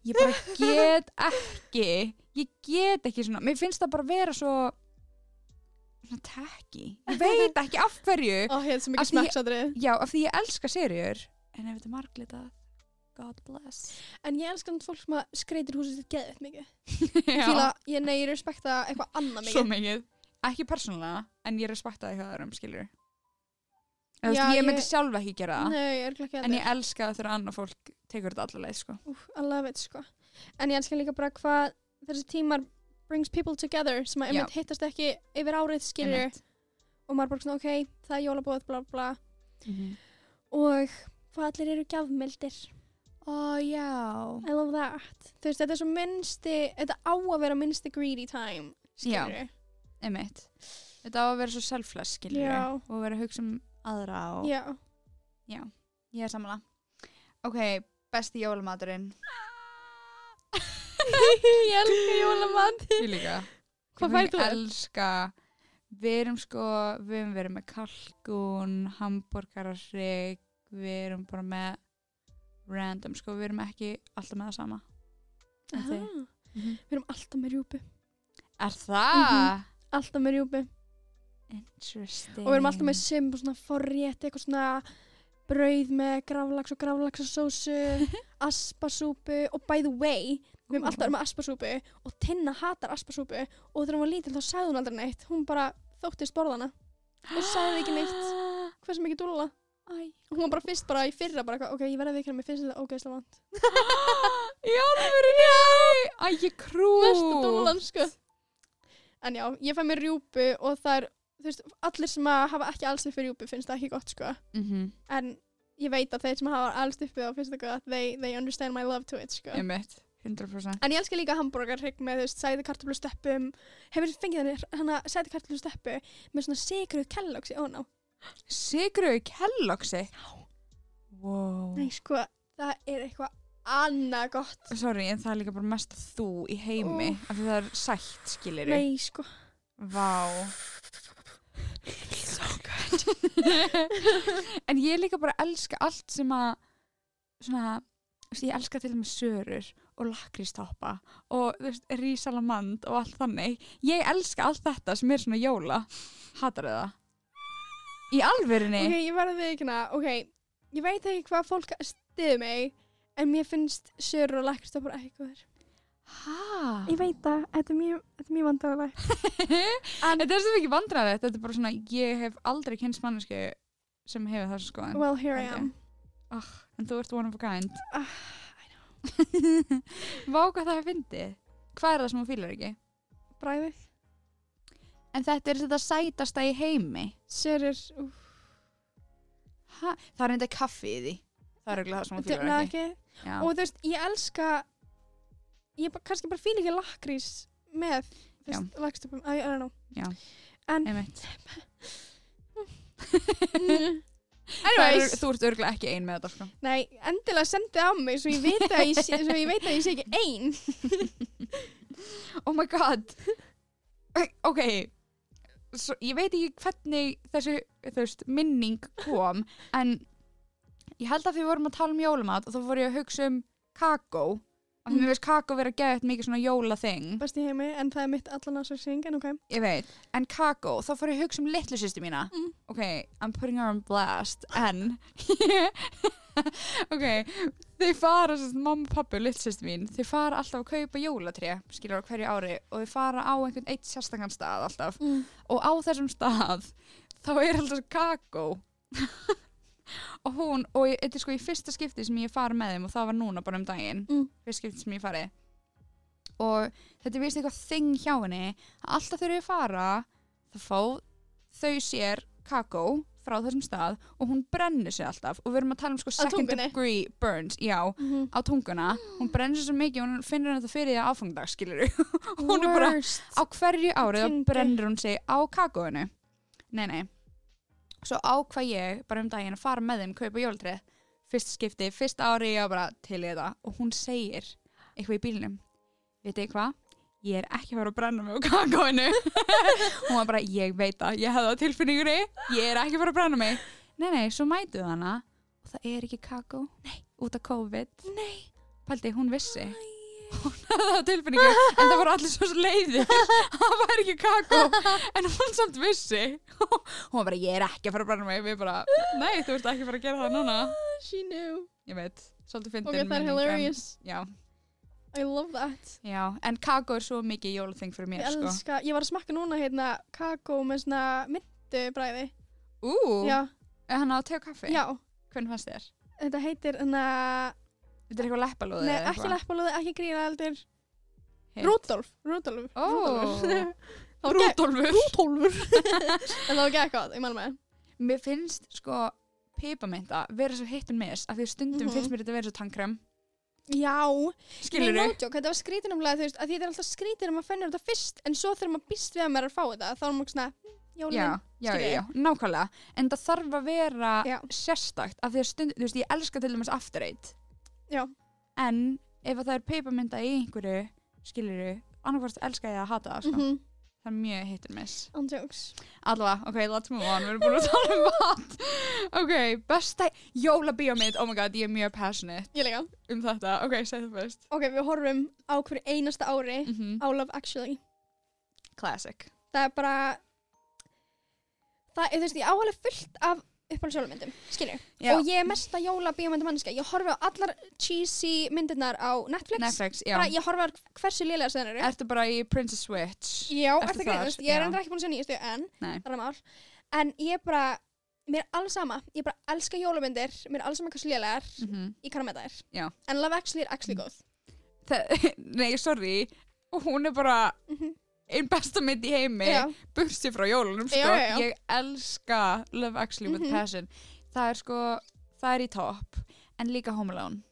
B: ég bara get ekki ég get ekki svona, mér finnst það bara vera svo svona tacky ég veit ekki af hverju
A: Ó, ég hef svo
B: Af
A: mikið
B: því ég-
A: smekksatrið.
B: Já, af því ég elska seriur En ef þetta er marglitað God bless
A: En ég elska hann fólk sem að skreitir húsið sitt geðvett mikið. Fíla,
B: Fíla
A: ég nei, ég respekta eitthvað annað
B: Svo
A: mikið.
B: mikið Ekki persónulega, en ég respekta það hjá öðrum, skilur Já,
A: Já,
B: veist, Ég
A: ég-
B: myndi sjálf ekki gera það
A: Nei, ég er ekki að
B: En ég elska þegar annað fólk tekur þetta allar leið, sko
A: Úf, I love it, sko. En ég elska líka bara hvað þessi tímar brings people together sem að
B: Já.
A: einmitt hittast ekki yfir árið skilur
B: Einmitt.
A: og maður bara svona, ok, það er jólabóð, bla bla
B: Mhm.
A: og hvað allir eru gjafmildir.
B: Ó, já
A: I love that. Þú veist, þetta er svo minnsti, þetta á að vera minnsti greedy time,
B: Já.
A: skilur.
B: Einmitt Þetta á að vera svo selfless, skilur
A: Já.
B: Og vera að hugsa um aðra og
A: Já.
B: Ég er samanlega Ok, besti jólamaturinn
A: ég elska jólamat.
B: Ég líka
A: Hvað
B: Ég
A: færð þú?
B: elska, við erum sko, við erum verið með kalkún, hambúrgararrygg, við erum bara með random, sko, við erum ekki alltaf með það sama. En
A: Aha.
B: þið? Mhm.
A: Við erum alltaf með rjúpu.
B: Er það?
A: Alltaf með rjúpu.
B: Mhm. Interesting.
A: Og við erum alltaf með sim og svona forrétt, eitthvað svona brauð með gravlags og gravlagsasósu, aspasúpu og by the way, við erum alltaf verið með aspasúpu og Tinna hatar aspasúpu og þegar hún var lítil þá sagði hún aldrei neitt. Hún bara þóttist borðana og sagði ekki neitt. Hversu mikið dúlla?
B: Æ.
A: Hún var bara fyrst bara í fyrra bara eitthvað, ok, ég verði að vikra, mér finnst þetta ógeðslega vant.
B: Já, það verið nei. Æ, ég krú.
A: Mesta dúllan, sko. En já, ég fæ mér rjúpu og það er, þú veist, allir sem að hafa ekki alls upp fyrir rjúpu finnst það ekki gott, sko.
B: Mm -hmm.
A: en ég veit að þeir sem hafa alls uppið á fyrsta góða, they, they understand my love to it, sko.
B: Ég mitt, 100%.
A: En ég elska líka hambúrgarrygg með, þú veist, sæði kartöflu steppum, hefur þið fengið henni, hana sæði kartöflu steppu með svona sigruð kellóksi, ó ná.
B: Sigruðu kelloksi? Já. Wow.
A: Nei, sko, það er eitthvað annað gott.
B: Sorry, en það er líka bara mest þú í heimi af því það er sætt, skilur
A: Nei, sko.
B: Vá So good En ég líka bara elska allt sem að svona, þú veist, ég elska til og með sörur og lakristoppa og þú veist, rísalamand og allt þannig Ég elska allt þetta sem er svona jóla Hatar það Í alvörinni
A: Ok, ég verði við ekki hana, ok, ég veit ekki hvað fólk stiði mig, en mér finnst sörur og lakristoppar ekki góður.
B: Hæ?
A: Ég veit það, þetta er mjög, þetta er mjög vandarlega.
B: Þetta er svo mikið vandræðið Þetta er bara svona, ég hef aldrei kynst mannesku sem hefur þessu skoðan
A: Well, here I
B: Held ég.
A: am.
B: En þú ert one of a kind.
A: Ah,
B: Vá hvað það er fyndið. Hvað er það sem hún fýlar ekki?
A: Bræðið.
B: En þetta er þetta sætasta í heimi.
A: Sörur, úf.
B: Ha? Það er enda kaffi í því. Það er eiginlega það sem hún fýlar
A: Dufnað
B: ekki.
A: ekki.
B: Já.
A: og þú veist, ég elska ég bara, kannski bara fíl ekki lakrís með þú veist, lakstöpum, I, I don't know
B: Já.
A: en
B: Einmitt.
A: Mm.
B: Það
A: anyways,
B: Er, þú ert örgulega ekki ein með þetta sko.
A: nei, endilega sendið á mig svo ég veit að ég sé, svo ég veit að ég sé ekki ein
B: Oh my god. ok. Svo, ég veit ekki hvernig þessu þú veist, minning kom en ég held að því við vorum að tala um jólamat og þá fór ég að hugsa um kakó af því mér veist kakó vera geðið mikið svona jólaþing
A: best í heimi en það er mitt allan ásvegsing en ok
B: ég veit, en kakó, þá fór ég að hugsa um litlu sýstu mína
A: Mm.
B: ok, I'm putting her on blast en ok, þeir fara sem sagt, mamma, pappi og litlu sýstu mín þeir fara alltaf að kaupa jólatré skilur á hverju ári og þeir fara á einhvern eitt sérstakann stað alltaf
A: mm.
B: og á þessum stað þá er alltaf kakó og hún, og ég- þetta er sko í fyrsta skipti sem ég fari með þeim og það var núna bara um daginn
A: Mm.
B: fyrst skipti sem ég fari og þetta er vist eitthvað þing hjá henni að alltaf þegar ég fara þá fá þau sér kakó frá þessum stað og hún brennir sig alltaf og við erum að tala um sko second
A: tungunni?
B: degree burns já,
A: Mhm.
B: á tunguna hún brennir sig svo mikið og hún finnir þetta fyrir því að áfangdag skilur hún er bara
A: Worst.
B: á hverju árið þá
A: Tengdi.
B: brennir hún sig á kakóinu nei nei svo ákvað ég bara um daginn að fara með þeim kaupa jólatrið fyrst skipti, fyrst ári ég var bara til í þetta og hún segir eitthvað í bílnum veit þið hvað? ég er ekki að fara að brenna mig á kakóinu hún var bara, ég veit það, ég hefði á tilfinningunni ég er ekki að fara að brenna mig nei nei, svo mætu það hana og það er ekki kakó, nei, út af COVID nei, pældi hún vissi það var tilfinningu en það voru allir svo leiðir það var ekki kakó en hún samt vissi hún var bara ég er ekki að fara að brenna mig við bara nei þú ert ekki að fara að gera það núna
A: she knew
B: ég veit svolítið fyndin
A: ok það er
B: minning, en-
A: hilarious
B: já,
A: I love that
B: já en kakó er svo mikið jólaþing fyrir
A: ég
B: mér sko
A: elska ég var að smakka núna hérna kakó með svona myndubræði
B: ú
A: já
B: er hann á te og kaffi
A: já
B: hvernig fannst þér
A: þetta heitir hérna
B: þetta er eitthvað leppalóð
A: nei ekki leppalúði ekki grína heldur
B: Hitt.
A: Rúdolf Rúdolf
B: Ó.
A: Rúdolfur. Það var gegn-
B: Rúdolfur
A: Rúdolfur en það var ekki eitthvað ég man með
B: mér finnst sko pipaminta vera svo hitt en miss af því stundum
A: Mhm.
B: finnst mér þetta vera svo tankrem
A: já
B: skilur
A: Nei, no joke, þetta var skrítin umlega, þú veist, að því þetta er alltaf skrítin þegar maður finnir þetta fyrst, en svo þegar maður býst við að maður er að fá þetta, þá er maður svona, hm, jólin,
B: já, já, já,
A: skilurðu?
B: já, nákvæmlega en það þarf að vera
A: Já.
B: sérstakt af því að stund, þú veist, ég elska til dæmis after eight
A: Já.
B: en ef að það er peipamynda í einhverju skiluru, annarkvæmst elska ég að hata það sko.
A: mhm,
B: það er mjög hit and miss
A: on jokes.
B: allavega, ok, let's move on, við erum búin að tala um mat ok, besta jólabíómynd, oh my god, ég er mjög passionate
A: Ég líka.
B: um þetta, ok, segð það fyrst
A: Ok, við horfum á hverju einasta ári
B: mm -hmm.
A: á Love Actually.
B: classic
A: Það er bara, það er, þú veist, ég áhæglega fullt af uppáhalds jólumyndum, skilju.
B: Já.
A: Og ég er mesta jóla bíómynda manneska, ég horfi á allar cheesy myndirnar á Netflix.
B: Netflix, já,
A: Bara, ég horfi á hversu lélega sem þeir eru.
B: ertu bara í Princess Switch
A: Já,
B: Ertu
A: ertu að
B: þar?
A: grínast, ég er
B: Já.
A: endur ekki búin að sjá nýjastu en
B: Nei.
A: það er mál, en ég bara mér er alls sama, ég bara elska jólamyndir mér er alls sama hversu lélegar,
B: mm -hmm.
A: ég kann að með þær
B: Já. Mm.
A: en Love Actually er actually góð
B: Þa- nei, sorry hún er bara
A: Mhm.
B: einn besta mynd í heimi
A: Já,
B: bursi frá jólunum sko.
A: Já, já, já.
B: ég elska Love Actually with
A: Mhm.
B: Passion það er sko, það er í topp en líka Home Alone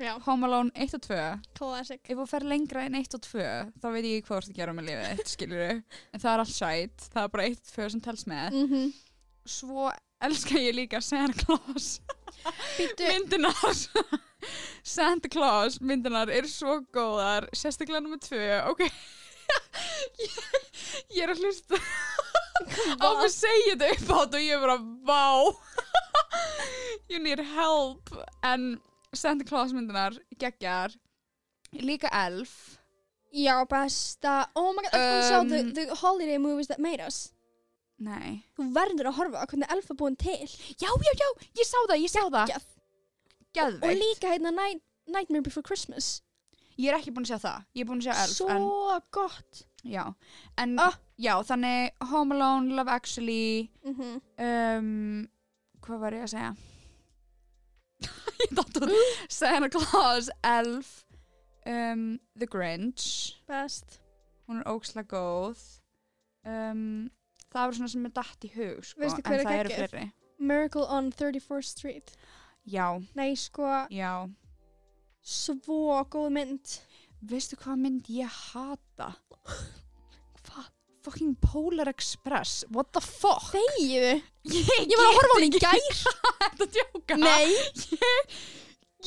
A: já,
B: Home Alone 1 og 2
A: classic
B: ef þú fer lengra en 1 og 2 þá veit ég ekki hvað þú ert að gera með lífið þitt, skilurðu en það er allt sætt, það er bara 1 og 2 sem telst með
A: mm -hmm.
B: svo elska ég líka Santa Claus
A: Býtu,
B: myndinar Santa Claus myndinar er svo góðar sérstaklega nummer tvö ok ég, ég er að hlusta á
A: Vá.
B: mig segja þetta upp átt og ég er bara vá you need help en Santa Claus myndinar geggjar líka elf
A: já, besta oh my god, um, þú sjá
B: Um,
A: the, the holiday movies that made us
B: nei
A: þú verður að horfa á hvernig elf er búin til
B: já já já ég sá það ég sá það
A: Geggjað. og
B: geðveikt
A: líka hérna Night, Nightmare Before Christmas
B: ég er ekki búin að sjá það ég er búin að sjá elf
A: svo
B: en
A: gott
B: já en
A: Ah.
B: já þannig Home Alone Love Actually
A: mm
B: um, hvað var ég að segja ég datt út Santa Claus, Elf um, The Grinch
A: best
B: hún er óksla góð um, það var svona sem er datt í hug sko,
A: Veistu hver
B: en
A: er
B: það eru
A: geggjuð?
B: fleiri
A: Miracle on 34th Street
B: já,
A: nei, sko,
B: já
A: svo góð mynd
B: veistu hvað mynd ég hata
A: Hvað?
B: fucking Polar Express what the fuck
A: Þegiðu?
B: ég,
A: Ég var að horfa á hún í
B: get
A: gær.
B: ekki að djóka
A: Nei,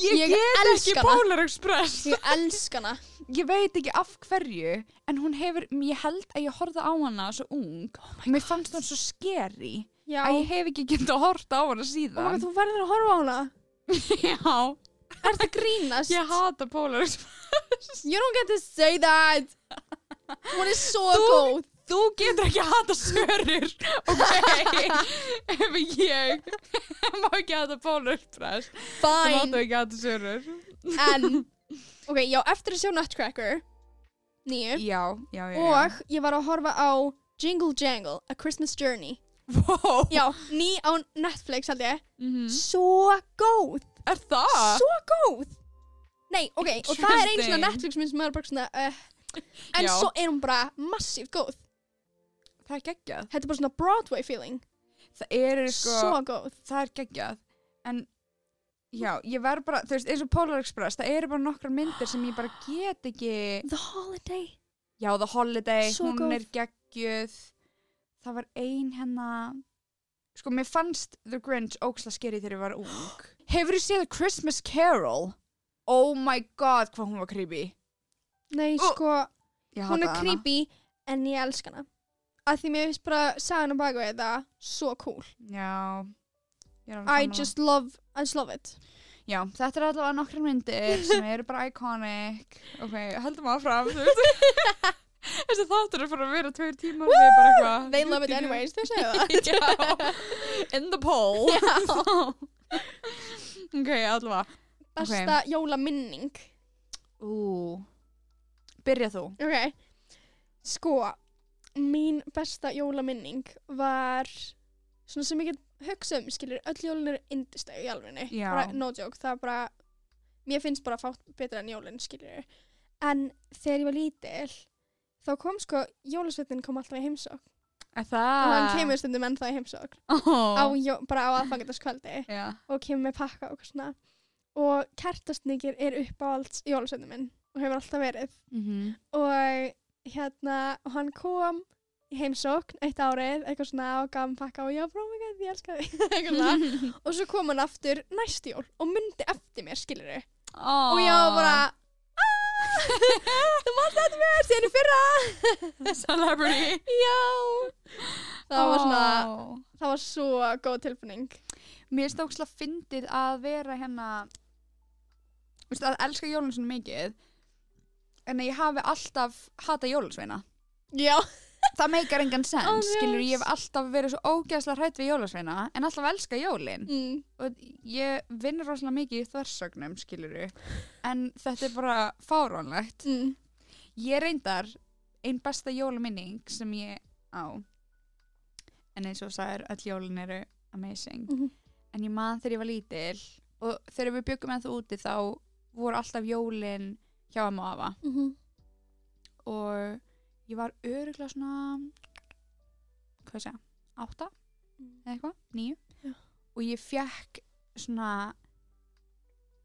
B: ég,
A: ég
B: get ekki
A: elska hana.
B: Polar Express
A: ég elska hana.
B: ég veit ekki af hverju en hún hefur, ég held að ég horfði á hana svo ung og mér fannst hún svo skeri
A: Oh Já.
B: að ég hef ekki getað að horta á hana
A: Oh my
B: síðan
A: Oh god, þú verður að horfa á hana.
B: Já,
A: Er það grínast?
B: ég hata Polar Express.
A: You don't get to say that Hún er svo
B: Þú-
A: góð
B: Þú getur ekki að hata sörur, ok? Ef ég má ekki hata Polar Express, þá máttu
A: Fine,
B: ekki hata sörur.
A: en Ok, já, eftir að sjá Nutcracker Nýju
B: Já, já, já.
A: Og ég var að horfa á Jingle Jangle A Christmas Journey
B: Wow.
A: Já, ný á Netflix held ég
B: Mhm.
A: Svo góð
B: Er það?
A: Svo góð Nei, ok, og það er einu svona
B: Interesting.
A: Netflix minn sem er bara svona uh, En
B: Já.
A: svo er hún bara massíft góð
B: Það er geggjað.
A: Þetta er bara svona Broadway feeling
B: Það eru sko...
A: Svo góð
B: það er geggjað en já, ég verð bara, þú veist, eins og Polar Express það eru bara nokkrar myndir sem ég bara get ekki
A: The Holiday
B: já, The Holiday,
A: Svo
B: hún
A: góð.
B: er geggjuð það var ein hennar sko, mér fannst The Grinch óksla skeri þegar ég var ung hefur þú séð The Christmas Carol? Oh my god, hvað hún var creepy
A: Nei,
B: Ú,
A: sko,
B: Ég
A: hún er
B: hataði hana.
A: creepy en ég elska hana. Að því mér finnst bara sagan á baku það svo cool.
B: já, ég er alveg
A: I
B: sammála.
A: just love, I just love it.
B: Já, þetta er allavega nokkrar myndir sem eru bara iconic Ok, höldum áfram þú veist. Þessi þáttur er bara að vera tveir tímar Við bara eitthvað
A: They love it anyways, þau segja það.
B: Já, in the poll Ok, allavega
A: Besta jólaminning.
B: Ú, byrja þú
A: Ok, sko, mín besta jólaminning var svona sem ég get hugsað um, skilur, öll jólin eru indisteg í alvinni.
B: Já.
A: Bara, no joke, það er bara, mér finnst bara fátt betra en jólin, skilur. En þegar ég var lítil, þá kom sko, jólasveitin kom alltaf í heimsók.
B: Er það?
A: og hann kemur stundum ennþá í heimsókn á,
B: oh.
A: jó, bara á aðfangandaskvöldi
B: Já,
A: og kemur með pakka og eitthvað svona og kertastningir er upp á alls jólasöndum minn og hefur alltaf verið
B: mhm
A: og hérna og hann kom í heimsókn eitt árið eitthvað svona og gaf hann pakka og já bróma oh my god, ég elska þig eitthvað svona. og svo kom hann aftur næst jól og myndi eftir mér skilur
B: oh.
A: og ég var bara "Ah, þú mátt eftir mér síðan hérna í fyrra
B: Celebrity
A: já það var svona
B: Ó.
A: það var svo góð tilfinning
B: mér finnst stókslega fyndið að vera hérna veist, að elska jólun svona mikið en að ég hafi alltaf hata jólusveina
A: já
B: það meikar engan sens,
A: Oh,
B: oh,
A: yes.
B: skilur ég hef alltaf verið svo ógeðslega hrætt við jólusveina en alltaf elska jólin
A: mm.
B: og ég vinn rosalega mikið í þversögnum skilur en þetta er bara fáránlegt
A: Mm.
B: ég reyndar einn besta jóluminning sem ég á en eins og sagður öll jólin eru amazing
A: Mhm.
B: en ég man þegar ég var lítil og þegar við byggum ennþá úti þá voru alltaf jólin hjá amma og afa og ég var öruglega svona hvað ég segja, átta
A: Mm.
B: eða eitthvað, níu
A: Já.
B: og ég fekk svona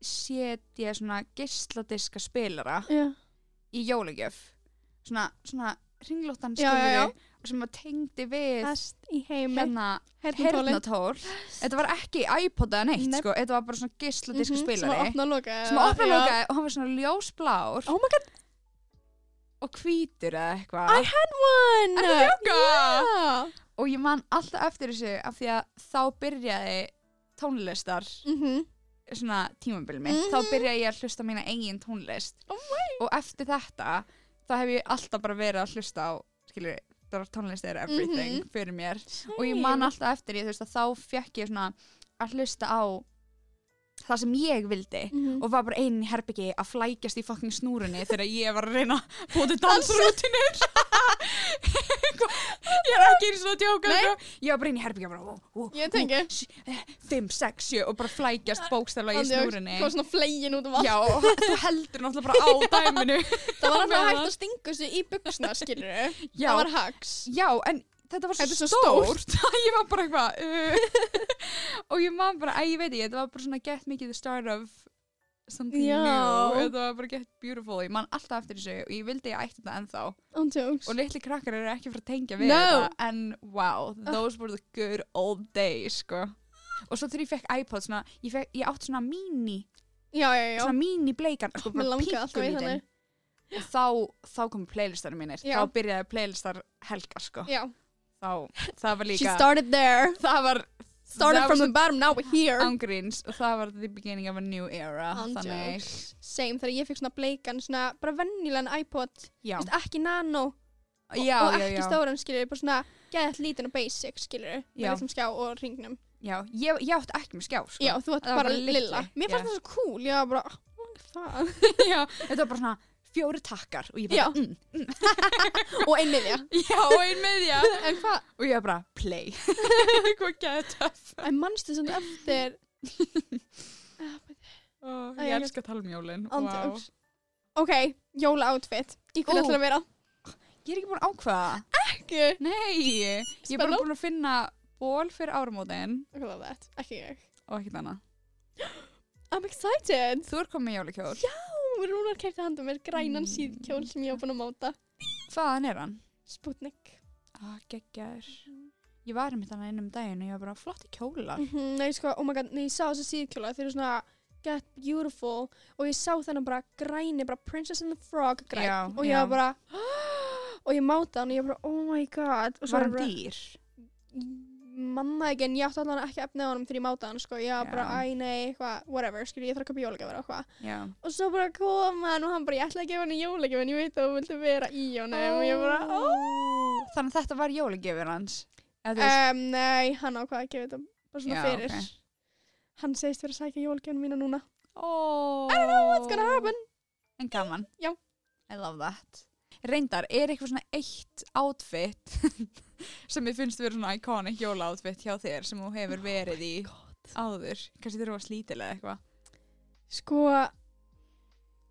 B: setja svona geisladiska spilara
A: Já.
B: í jólagjöf svona, svona ringlóttan
A: Já, já, já.
B: skilur sem að tengdi við
A: Best í heimi
B: hérna
A: Heyrnartólin.
B: hernatól þetta var ekki iPod eða neitt
A: Nei.
B: sko, þetta var bara svona gísladisku
A: Mhm, Sem að
B: spilari
A: opna og loka
B: sem að eh? opna
A: Já.
B: lókaði og hann var svona ljósblár
A: Oh my god,
B: og hvítur eða
A: I
B: eitthvað
A: had one
B: Er það ljóka?
A: Já.
B: og ég man alltaf eftir þessu af því að þá byrjaði tónlistar
A: Mhm.
B: svona tímabili mitt
A: Mhm.
B: þá byrjaði ég að hlusta á mína eigin tónlist
A: Oh
B: og eftir þetta þá hef ég alltaf bara verið að hlusta á skilur, tónlist er everything
A: Mhm.
B: fyrir mér og ég man alltaf eftir ég, þú veist, að þá fekk ég svona að hlusta á það sem ég vildi
A: Mhm.
B: og var bara einn í herbyggi að flækjast í fucking snúrunni þegar ég var að reyna að bóti dansrútinur ég er ekki eins og að djóka
A: Nei.
B: sko. ég var bara einn í herbyggi bara, ó, ó,
A: Ég tengi.
B: 5, 6, 7 og bara flækjast bókstæðlega í
A: Andi,
B: snúrunni
A: Kom svona flegin út um allt
B: já, og þú heldur náttúrulega bara á
A: Það
B: dæminu
A: var alltaf
B: meðan.
A: hægt að stinga sig í buksna skilur
B: já,
A: Það var hags
B: já, en þetta var svo,
A: Þetta er svo
B: stórt, að ég var bara eitthvað uh, og ég man bara, að ég veit ég þetta var bara svona get mikið the start of something
A: Já.
B: new þetta var bara get beautiful, ég man alltaf eftir þessu og ég vildi ég ætti þetta ennþá
A: On jokes
B: og litli krakkar eru ekki fyrir að tengja við
A: No.
B: þetta en wow, those were the good old days sko og svo þegar ég fekk iPod svona, ég, fekk, ég átt svona mini
A: Já, já, já
B: svona mini bleikan sko,
A: Mér
B: bara
A: langaði alltaf í
B: pinkulítinn.
A: þannig.
B: og þá, þá komu playlistanum mínir
A: Já.
B: þá byrjaði playlistar helgar sko
A: Já
B: þá, það var
A: She
B: líka
A: started there
B: það var
A: Started
B: That
A: from
B: was
A: the bottom, now we're here.
B: Ángríns og það var the beginning of a new era
A: Án
B: þannig,
A: Same, þegar ég fekk svona bleikan, svona bara vennilegan iPod,
B: já,
A: Vist, ekki nano og,
B: já,
A: og
B: já,
A: ekki
B: já.
A: stóran, skilur, bara svona geðall lítinn og basic, skilur,
B: Já.
A: með litlum skjá og ringnum.
B: já ég, ég átti ekki með skjá sko.
A: Já, þú átt
B: Það var
A: bara
B: bara litli,
A: lilla. Mér fannst
B: já.
A: það svo cool, ég var bara, "Ah, hvað?
B: já, þetta var bara svona fjóri takkar og ég
A: Já.
B: bara, mm,
A: og einmiðja.
B: já, og ein meðja
A: En hvað,
B: og ég bara, play hvað gæði töff
A: en mannstu sem eftir, Ah,
B: oh,
A: Æ,
B: ég
A: ég-
B: elska að tala um jólin wow.
A: Andjóks. Ok, jóla outfit. Í hverju
B: Ú.
A: ætlar að vera?
B: ég er ekki búin að ákvaða
A: Ekki.
B: Nei, ég er bara
A: Spennó.
B: búin að finna ból fyrir áramótin
A: I love that. Ekki ég.
B: og ekkert annað.
A: I'm excited.
B: Þú ert komið með jólakjól.
A: Já, Rúnar kæfti handa mér grænan
B: Mm.
A: síðkjól sem ég var búin að máta.
B: Hvaðan er hann?
A: Sputnik.
B: Ah, geggjar. Ég var einmitt hann einum daginn og ég var bara flott í kjólar.
A: Mhm, Nei, sko, oh my god, nei, ég sá þessu síðkjóla, þeir eru svona get beautiful og ég sá þennan bara græni, bara Princess and the Frog græn
B: Já,
A: og ég
B: já.
A: var bara, og ég máta hann og ég bara, oh my god og
B: Var hann
A: bara,
B: dýr?
A: manna ekki en ég átti allan ekki efnið á hann þegar ég máta hann, sko, ég var
B: Já.
A: bara, æ, nei, hvað, whatever, skilur, ég þarf að köpa jólagjafar og hvað
B: Já.
A: og svo bara kom hann og hann bara, ég ætla að gefa hann jólagjafar en ég veit að þú vildi vera í honum og ég bara, ó,
B: Þannig að þetta var jólagjöfur hans. Eða þú veist-
A: um, nei, hann ákvað að gefa þetta bara svona
B: Já,
A: fyrir
B: ok.
A: hann segist fyrir að sækja jólagjafar mína núna
B: Oh.
A: I don't know what's gonna happen
B: En gaman.
A: Já.
B: I love that. Reyndar, er eitthvað svona eitt outfit sem ég finnst vera svona iconic jólaoutfit hjá þér sem þú
A: Oh
B: hefur verið í áður? Kanski þér var slítilega eitthvað?
A: Sko,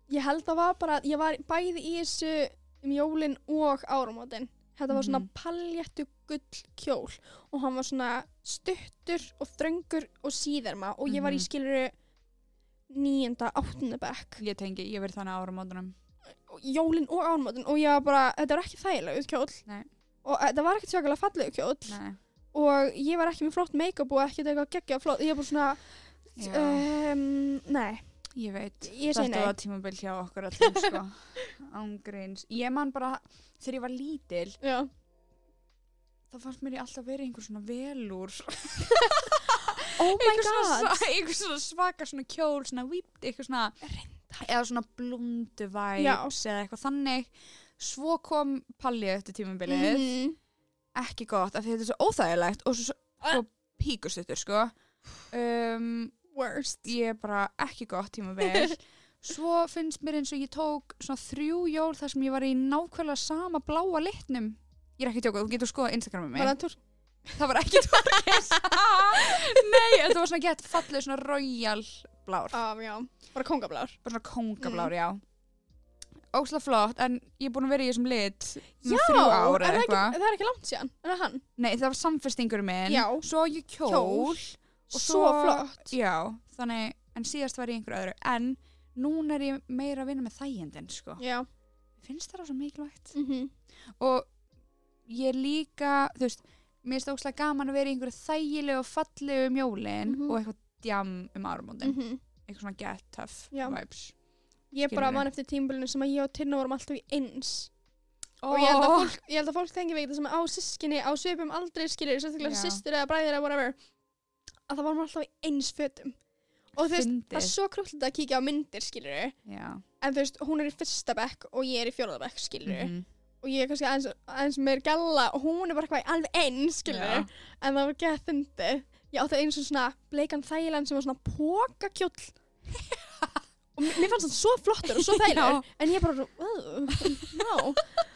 A: ég held að var bara, ég var bæði í þessu um jólin og áramótin. Þetta var svona
B: Mhm.
A: paljettu gull kjól og hann var svona stuttur og þröngur og síðarma og ég var í
B: Mhm.
A: skiluru níunda, áttunda bekk.
B: Ég tengi, ég hef verið þannig ára mótunum.
A: Og Jólin og áramótin og ég var bara, þetta var ekki þægilegur kjól.
B: Nei.
A: Og þetta var ekkert sjökulega fallegur kjól
B: Nei.
A: og ég var ekki með flott make-up og ekkert eitthvað geggja flott. Ég var bara svona,
B: Já.
A: um, nei,
B: Ég veit.
A: ég segi
B: Þetta
A: nei.
B: var tímabil hjá okkur allum, sko. Ángreins. Ég man bara, þegar ég var lítil,
A: Já.
B: þá fannst mér ég alltaf verið einhver svona velúr.
A: Oh my
B: einhver
A: god.
B: svona, sva- einhver svona svaka svona kjól, svona výpt, eitthvað svona eða svona blundu vibes eða eitthvað þannig svo kom pallið eftir tímabilið
A: Mhm.
B: ekki gott af því þetta er svo óþægilegt og svo,
A: Ah.
B: svo píkustuttur sko um,
A: worst
B: ég er bara ekki gott tímabil svo finnst mér eins og ég tók svona þrjú jól þar sem ég var í nákvæmlega sama bláa litnum ég er ekki tjókað, þú getur skoða Instagramið mig
A: var það túr
B: það var ekki Torkis nei, en það var svona gett fallið svona royal blár
A: um, já, bara kongablár
B: bara svona
A: Mm.
B: kongablár, já ósla flott, en ég er búin að vera í þessum lit
A: já,
B: svona þrjú
A: er
B: ár
A: það
B: eða
A: ekki,
B: eitthvað
A: það er ekki langt síðan en það er hann,
B: nei, það var samfestingur minn
A: Já.
B: svo ég kjól,
A: Kjól. svo,
B: Og svo-
A: flott
B: já, þannig, en síðast var ég í einhverju öðru en núna er ég meira að vinna með þægindin sko.
A: já,
B: finnst það á svo mikilvægt
A: mm
B: og ég er líka þú veist, mér finnst óslega gaman að vera í einhverju þægilegu og fallegu um jólin
A: Mhm.
B: og eitthvað djam um árumóndin eitthvað svona get tough
A: Já.
B: vibes
A: mhm. ég bara
B: Skilurðu.
A: man eftir tímbilinu sem að ég og Tinna vorum alltaf í eins og ég held að fólk, ég held að fólk tengi við þetta sem á sískinni á svipum aldrei skilur, sérstaklega
B: Já.
A: sýstir eða bræðir eða whatever að það varum alltaf í eins fötum og þú veist, það er
B: fyndið
A: svo krúllið að kíkja á myndir skilur
B: já
A: en þú veist, hún er í fyrsta bekk og ég er í fjóraða bekk skilur
B: Mhm.
A: og ég er kannski aðeins, aðeins meir galla og hún er bara eitthvað alveg eins, skilur
B: Já.
A: en það var ekki að fyndi ég átti einu svona bleikan þægilegan sem var svona pókakjóll og mér mér fannst hann svo flottur og svo þægilegur en ég bara, wow, no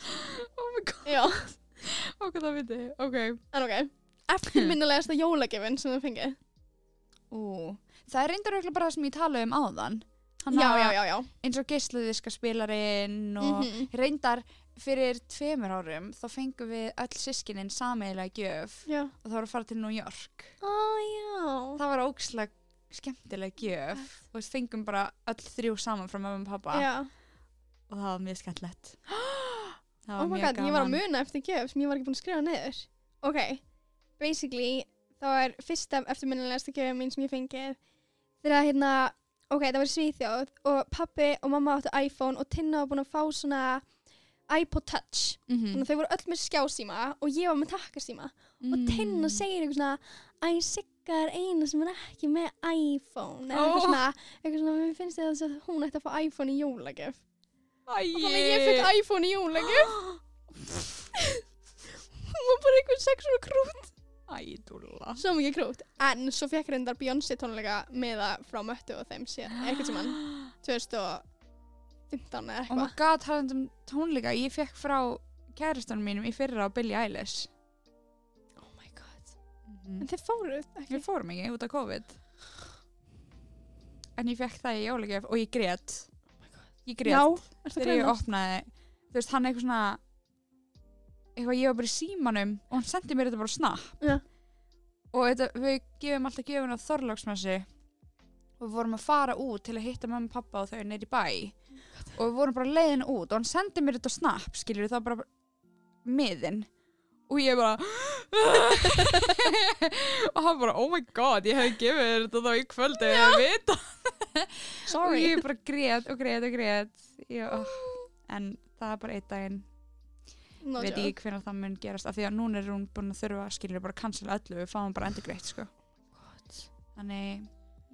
B: oh my god
A: já,
B: ok, það viti ok
A: en ok eftirminnilegasta jólagjöfin sem þau fengið
B: Ú. það er reyndar auðvitað bara það sem ég talaði um áðan hann
A: já,
B: að-
A: já, já, já
B: eins og geisladiska spilarinn og
A: Mhm.
B: reyndar fyrir tveimur árum þá fengum við öll sískinin sameigilega gjöf
A: já,
B: og það var að fara til New York
A: ó, já
B: það var ókslega skemmtilega gjöf og við fengum bara öll þrjú saman frá mamma og pappa
A: já,
B: og það var mjög skemmtilegt Það
A: oh my
B: mjög
A: god, ég var að
B: gaman.
A: muna eftir gjöf sem ég var ekki búin að skrifa neður ok, basically þá er fyrsta eftirminnilegasta gjöfum mín sem ég fengið þegar hérna, ok, það var í Svíþjóð og pappi og mamma áttu iPhone og Tinna var búin að fá svona iPod Touch
B: Mm. Mhm.
A: þannig að þau voru öll með skjásíma og ég var með takkasíma
B: Mm.
A: og Tinna segir eitthvað svona Æ, Sigga er eina sem er ekki með iPhone eða
B: Ó.
A: eitthvað svona, eitthvað svona mér finnst þið að hún ætti að fá iPhone í jólagjöf og þannig að ég
B: Æi,
A: fekk iPhone í jólagjöf hún var bara eitthvað sex og krút
B: æi, dúlla.
A: svo mikið krút en svo fekk reyndar Beyoncé tónleika með það frá möttu og þeim sér eitthvað sem hann 2015 eða
B: Oh my
A: eitthvað
B: god, talandi um tónleika, ég fekk frá kæristanum mínum í fyrra á Billie Eilish.
A: oh my god en þið fóruð ekki
B: Við fórum ekki út af COVID. En ég fekk það í jólagjöf og ég grét. Ég grét.
A: Oh já, er það
B: þegar ég
A: greinast
B: opnaði þú veist, hann eitthvað svona eitthvað, ég var bara í símanum og hann sendi mér þetta bara á snapp
A: Já.
B: og þetta, við gefum alltaf gefun á Þorláksmessu og við vorum að fara út til að hitta mamma og pappa og þau neyri bæ og við vorum bara leiðin út og hann sendi mér þetta á snapp skilur það var bara miðin og ég bara og hann bara, oh my god, ég hef gefið þér þetta þá í kvöld ef ég vita og
A: sorry
B: ég bara grét og grét og grét ég, oh. en það er bara einn daginn
A: No
B: veit
A: joke.
B: ég hvernig það mun gerast af því að núna er hún búin að þurfa að skilja bara að cancela öllu við fáum bara endur greitt sko. þannig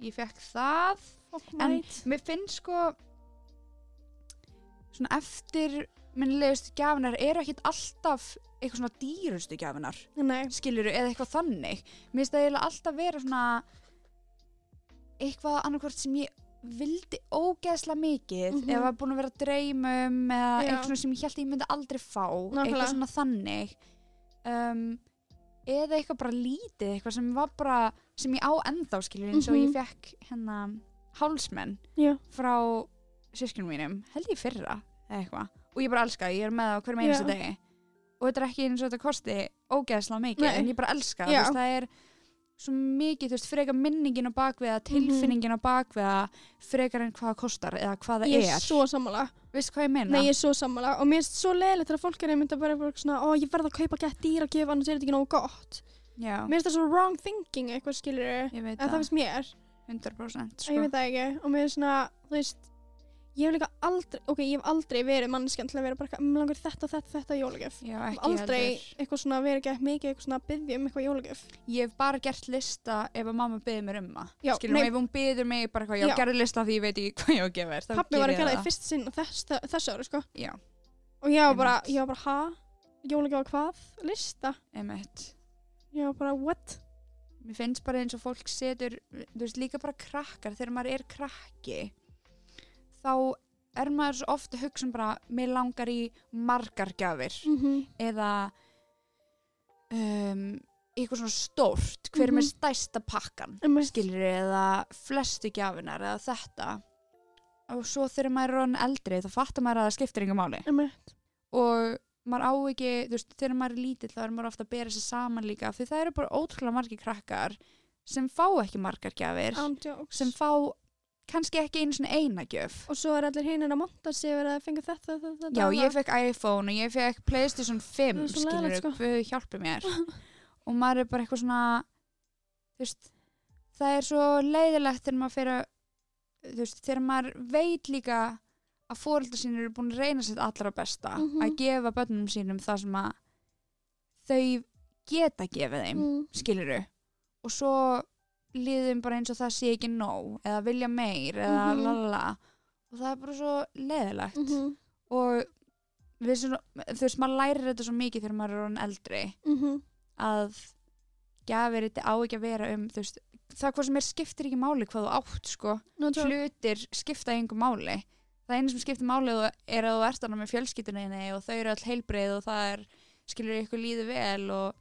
B: ég fekk það
A: Fuck
B: en
A: mate.
B: mér finnst sko svona eftir minnilegustu gjafinar eru ekkit alltaf eitthvað svona dýrustu gjafinar
A: Nei,
B: skilur eða eitthvað þannig mér finnst það eiginlega alltaf vera svona eitthvað annarkvort sem ég vildi ógeðslega mikið mm
A: Mhm.
B: -hmm. eða búin að vera að dreyma um eða
A: Já.
B: eitthvað svona sem ég held að ég myndi aldrei fá
A: Nákvæmlega.
B: eitthvað svona þannig um, eða eitthvað bara lítið eitthvað sem var bara sem ég á ennþá skilur eins og
A: Mhm.
B: ég fekk hérna hálsmenn
A: Já.
B: frá sískinum mínum held ég í fyrra eða eitthvað og ég bara elska það, ég er með það á hverjum einasta
A: Já.
B: degi og þetta er ekki eins og þetta kosti ógeðslega mikið
A: Nei.
B: en ég bara elska það,
A: Já.
B: þú veist, það er svo mikið, þú veist, frekar minningin á bakviða
A: Mhm.
B: tilfinningin á bakviða frekar en hvað það kostar eða hvað það
A: ég
B: er Hérna.
A: er svo sammála
B: veistu hvað ég meina?
A: Nei, ég er svo sammála og mér er svo leiðilegt þegar fólk er einmitt að bara eitthvað svona, ó, ég verð að kaupa gett dýra gjöf, annars er þetta ekki nógu gott.
B: Já,
A: Mér finnst það svo wrong thinking eitthvað, skilur þau,
B: ég veit
A: en það
B: það,
A: finnst mér,
B: 100%
A: ég
B: sko.
A: veit það ekki, og mér er svona, þú veist, ég hef líka aldrei, ok, ég hef aldei verið manneskjan til að vera bara, eitthvað, "Mm, langar í þetta, þetta, þetta jólagjöf.
B: Já,
A: Ég hef
B: ekki
A: aldrei
B: heldur
A: eitthvað svona verið gett mikið eitthvað svona að byggja um eitthvað jólagjöf.
B: Ég hef bara gert lista ef að mamma byður mér um það
A: Já,
B: Skilur mig,
A: nei.
B: ef hún byður mig bara eitthvað, já,
A: Já.
B: gerðu lista því ég veit ekki hvað ég á að gefa þér þá
A: Pappi var
B: geri
A: að
B: ég
A: gera það í
B: það.
A: fyrst sinn á þess, þess ári, sko.
B: Já,
A: Og ég var bara,
B: Einmitt.
A: ég var bara, ha? Jólagjöf á hvað? Lista?
B: emitt
A: Ég var bara, what?
B: Mér finnst bara eins og fólk setur, þú veist, líka bara krakkar, þegar maður er krakki, þá er maður svo ofta að hugsa um bara, mér langar í margar gjafir
A: Mm
B: eða um, eitthvað svona stórt, hver er
A: Mhm.
B: með stæsta pakkan, skilur eða flestu gjafinar eða þetta. Og svo þegar maður er rann eldri, þá fattar maður að það skiptir yngur máli og maður á ekki, þú veist, þegar maður er lítill þá er maður ofta að bera sér saman líka af því það eru bara ótrúlega margir krakkar sem fá ekki margar gjafir
A: Ándjóks.
B: sem fá kannski ekki einu svona eina gjöf
A: Og svo er allir hinir að monta sig verið að fengu þetta, þetta, þetta.
B: Já, ég
A: annað.
B: fekk iPhone og ég fekk Playstation 5
A: Það er svo
B: skilur,
A: leiðilegt, sko.
B: guð hjálpi mér og maður er bara eitthvað svona þú veist, það er svo leiðilegt þegar maður fyrir þú veist, þegar maður veit líka að fóreldar sín eru búin að reyna sitt allra besta
A: Mhm.
B: að gefa börnum sínum það sem að þau geta gefið þeim,
A: Mm.
B: skiluru og svo líðum bara eins og það sé ekki nóg eða vilja meir eða mm
A: Mhm.
B: lalala og það er bara svo leiðilegt
A: Mm -hmm.
B: og við svona, þú veist, maður lærir þetta svo mikið þegar maður er orðin eldri
A: Mm -hmm.
B: að gjafir þetta á ekki að vera um, þú veist, það hvað sem er skiptir ekki máli hvað þú átt, sko hlutir skipta engu máli það einu sem skiptir máli þú- er að þú ert annað með fjölskyldunni og þau eru all heilbreið og það er, skilur ykkur líði vel og,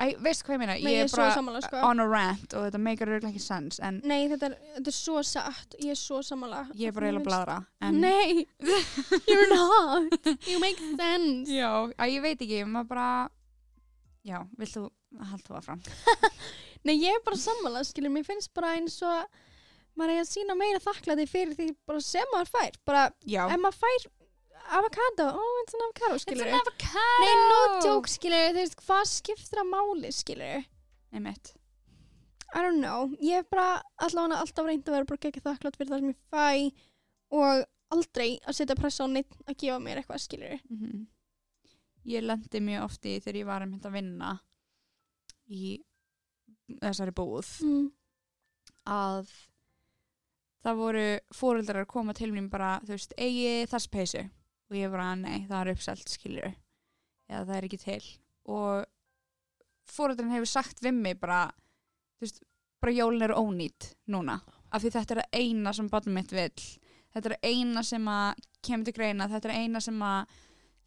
B: Æ, veist hvað ég meina
A: Nei, ég er svo
B: bara
A: sammála, sko.
B: on a rant og þetta meikar auðvitað ekki sens en
A: Nei, þetta er, þetta er svo satt. Ég er svo sammála.
B: ég er bara eiginlega að bladra en,
A: Nei, you're not. You make sense.
B: já, að ég veit ekki, maður bara já, vilt þú hald þú að fram
A: Nei, ég er bara sammála, skilur. Mér finnst bara eins og maður er að sína meira þakklæði fyrir því bara sem maður fær. Bara,
B: Já.
A: ef maður fær avocado, oh, it's an avocado, skilur.
B: avocado.
A: Nei, no joke, skilur. Þú veist, hvað skiptir að máli, skilur?
B: Einmitt.
A: I don't know, ég hef bara allavega alltaf reynd að vera bara ekki þakklátt fyrir það sem ég fæ og aldrei að setja pressa á neitt að gefa mér eitthvað skilur
B: -hmm. Ég lendi mjög ofti þegar ég var einmitt að vinna í þessari búð
A: mm.
B: að það voru fóreldrar að koma til mér bara, þú veist, eigi þess peysu og ég bara, nei, það er uppselt skilur eða það er ekki til og fóreldrarn hefur sagt við mig bara, þú veist, bara jólin eru ónýtt núna af því þetta er að eina sem barnum mitt vill þetta er að eina sem að kemur til greina, þetta er að eina sem að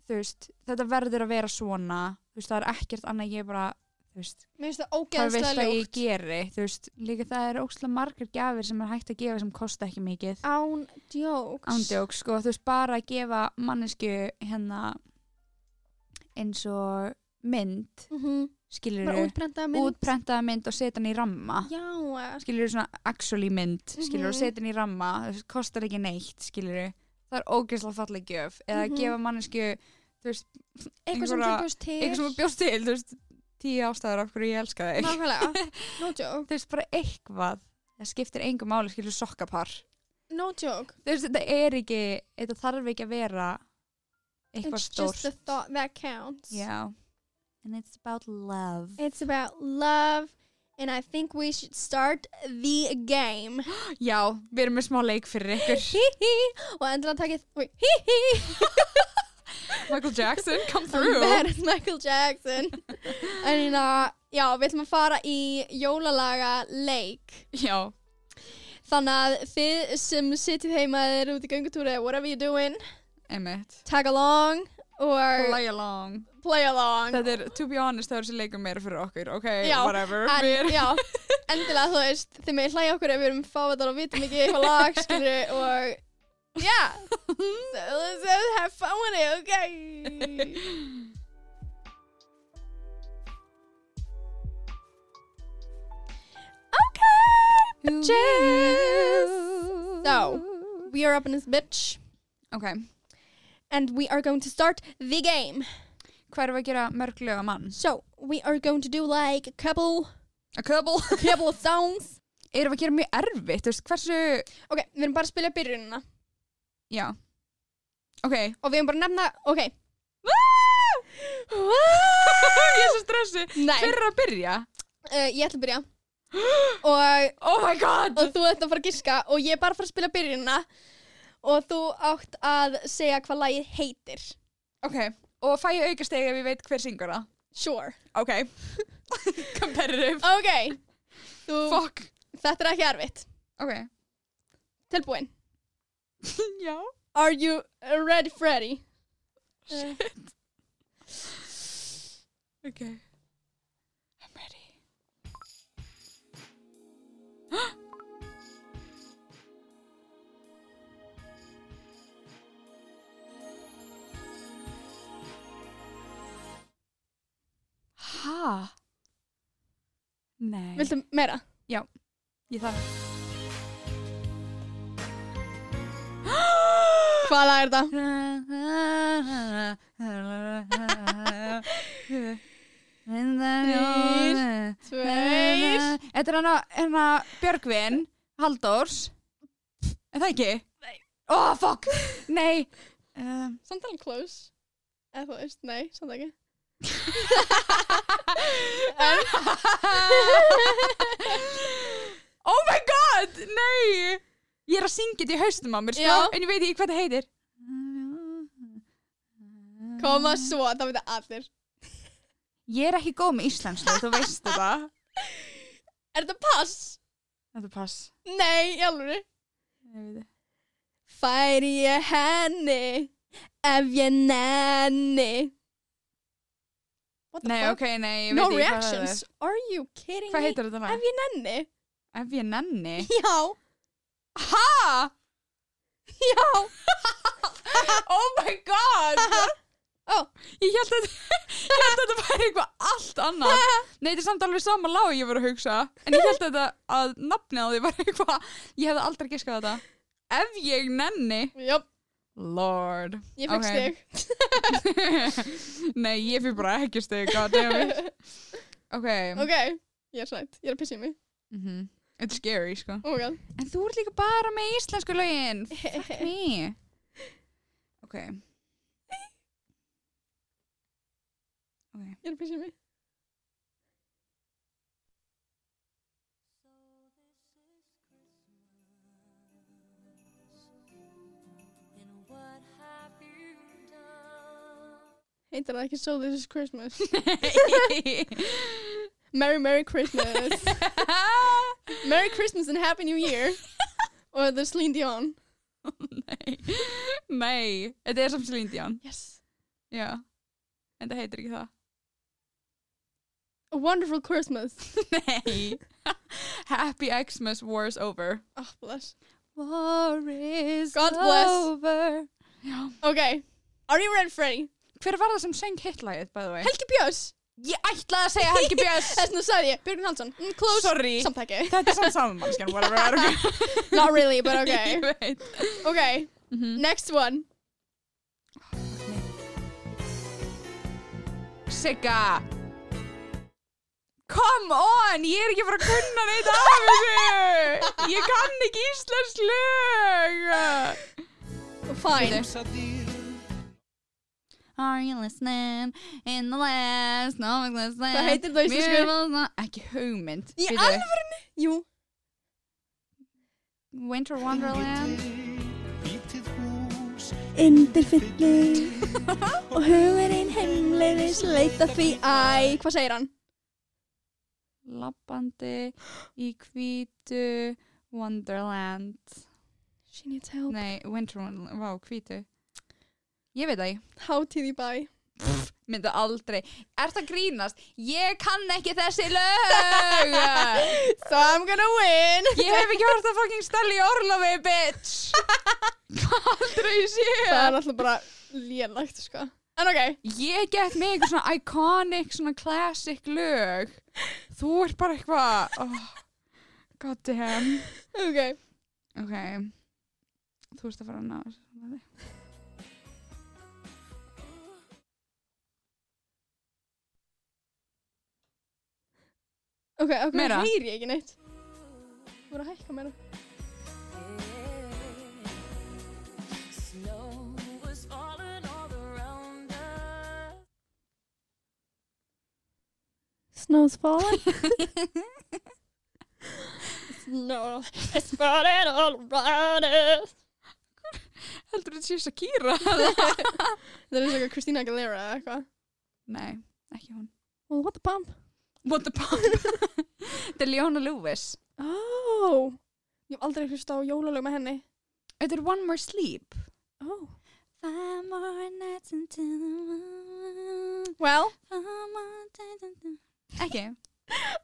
B: þú veist, þetta verður að vera svona þú veist, það er ekkert annað ég bara þú veist,
A: Mér finnst það
B: hvað veist
A: ógeðslega
B: að ég
A: ljótt
B: geri þú veist, líka það eru ókslega margar gjafir sem er hægt að gefa sem kosta ekki mikið
A: Án djóks
B: ándjóks, sko, þú veist, bara að gefa mannesku hérna eins og mynd,
A: Mhm.
B: skilur
A: Bara útbrenda mynd
B: útprentaða mynd og setja hann í ramma
A: Já, eh,
B: skilur svona actually mynd skilur og
A: Mhm.
B: setja hann í ramma, þú veist, kostar ekki neitt skilur, það er ógeðslega falleg gjöf eða
A: Mhm.
B: gefa mannesku þú veist,
A: eitthvað sem
B: Einhverja-
A: þú bjóst til
B: eitthvað sem þú bjóst til, þú veist tíu ástæður af hverju ég elska þig
A: Nákvæmlega, "Ah, no joke
B: þú veist, bara eitthvað það skiptir engu máli, skilur sokkapar
A: No joke,
B: þú veist, þetta er ekki þetta þarf ekki að vera eitthvað
A: it's just the
B: stórt
A: thought that counts
B: já and it's about love
A: It's about love and I think we should start the game
B: já, við erum með smá leik fyrir ykkur
A: Hí-hí og endilega takið wait, Hí-hí
B: Michael Jackson, come through
A: That is Michael Jackson En hérna, já, við ætlum að fara í jólalaga leik
B: já,
A: Þannig að þið sem sitjið heima eða eru út í göngutúri whatever you're doing,
B: emmett
A: tag along or play,
B: play along
A: along
B: þetta er, to be honest, það er þessi leikum meira fyrir okkur ok,
A: Já,
B: whatever
A: En,
B: við erum-
A: já, endilega þú veist þið með hlæja okkur ef við erum fávætar og vitum ekki eitthvað lag, skilur og já so let's just have fun with it, ok
B: Who
A: Just-
B: will you?
A: So. we are up in this bitch
B: ok,
A: and we are going to start the game
B: hvað erum við að gera mörg lög að mann?
A: so we are going to do like a couple
B: a couple
A: a couple of songs
B: erum við að gera mjög erfitt, þú veist, hversu
A: ok, við erum bara að spila byrjunina
B: já, ok
A: og við erum bara að nefna, ok
B: ég er svo stressi
A: nei,
B: Hver er að byrja?
A: uh, ég ætla að byrja og
B: Oh my god
A: og þú ert að fara að giska og ég er bara að fara að spila byrjunina og þú átt að segja hvað lagið heitir
B: Ok, og fæ ég auka stegi ef ég veit hver syngur það
A: Sure
B: Ok Competitive
A: Ok þú,
B: Fuck
A: Þetta er ekki erfitt
B: Ok
A: Tilbúin
B: Já
A: Are you ready Freddy?
B: Shit Ok I'm ready Ha? Nei
A: Viltu meira?
B: Ég þarf
A: Hvað lag er það? Tveir
B: Þetta er hana, hana Björgvin Halldórs Er það ekki?
A: Nei.
B: Oh fuck, nei um,
A: Samt alveg close Eða þú veist, nei, samt ekki
B: Oh my god, nei Ég er að syngja þetta í haustum á mér sko,
A: Já.
B: En ég veit ekki hvað það heitir Mm.
A: Koma svo, það veit allir
B: Ég er ekki góð með íslensku, þú veist þetta
A: Er þetta pass?
B: Þetta er pass
A: Nei, í alveg
B: Ég veit það.
A: Færi ég henni Ef ég nenni What the
B: Nei,
A: fuck?
B: ok, nei, ég veit
A: No
B: ekki hvað það
A: reactions, are you
B: er
A: kidding
B: Hvað
A: me?
B: heitir þetta lag?
A: Ef ég nenni
B: Ef ég nenni
A: Já,
B: Ha?
A: já
B: Oh my god
A: Ó,
B: Ég held að, ég held að þetta væri eitthvað allt annað Nei, þetta er samt alveg sama lág ég var að hugsa En ég held að þetta að nafnið á því var eitthvað Ég hefði aldrei giskað þetta Ef ég nenni
A: jöp,
B: Lord
A: ég fikk
B: Ok.
A: stig
B: Nei, ég fyrir bara ekki stegu Goddammit Ok
A: Ok, ég er slæmt, ég er að pissa í mig
B: Mhm. It's scary, sko
A: Oh my god
B: En þú ert líka bara með íslensku lögin
A: Fuck
B: Me Ok. Ok.
A: Ég er að písja mig. Heitir það ekki So This Is Christmas? Merry Merry Christmas. Merry Christmas and Happy New Year. Og það er Celine Dion.
B: Nei. Nei. Þetta er samt Celine Dion.
A: Yes.
B: Já. En það heitir ekki það.
A: A Wonderful Christmas.
B: Nei. Happy Xmas, war is over.
A: Oh, bless.
B: War is
A: God bless.
B: over. Já.
A: Ok. Are you ready, Freddy?
B: Hver var það sem söng hitlægið, by the way?
A: Helgi Björns.
B: Ég ætlaði að segja Helgi Björns.
A: Þess vegna sagði ég. Björn Hansson. Mm, close.
B: Sorry.
A: Samt ekki.
B: Þetta er samt saman mannskjan, whatever. er ok.
A: Not really, but okay.
B: Ég veit.
A: Ok.
B: Mhm.
A: Next one.
B: Sigga. Come on, ég er ekki að fara að kunna neitt af þessu. Ég kann ekki íslensk lög.
A: Fine.
B: Are you listening in the last, no one's listening.
A: Hvað heitir það í íslensku?
B: Mér var það- Ekki hugmynd.
A: Í
B: Bíddu.
A: alvörinu? Jú.
B: Winter Wonderland.
D: Lítið hús
A: Undir fyllu og hugurinn heimleiðis leita því Æ, hvað segir hann?
B: Lappandi í hvítu Wonderland.
A: She needs help.
B: Nei, Winter Wonderland. Vá, hvítu. Ég veit það ekki.
A: Hátíð í bæ.
B: Mynda aldrei. Er það grínast? Ég kann ekki þessi lög.
A: So I'm gonna win.
B: Ég hef ekki hort að fucking stella í orlofi, bitch. aldrei
A: Það
B: sé.
A: er alltaf bara lélagt, sko. En ok,
B: Ég get mig eitthvað svona iconic, svona classic lög. Þú ert bara eitthvað. Oh, God damn.
A: ok.
B: Ok. Þú ert að fara að ná þessu.
A: Ok, ok,
B: Meira?
A: heyri ég ekki neitt. Þú voru að hækka meira. Snow's falling. Snow is falling all around us.
B: Heldur þetta sé Shakira?
A: Það er eins og eitthvað Christina Aguilera eða eitthvað.
B: Nei, ekki hún.
A: Well, what the bump?
B: What the pump? Þetta er Leona Lewis.
A: Oh. Ég hef aldrei hlusta á jólalög með henni.
B: Þetta er One More Sleep.
A: Oh.
C: Five more nights until the moon.
A: Well,
C: Five more days until-
B: Ekki.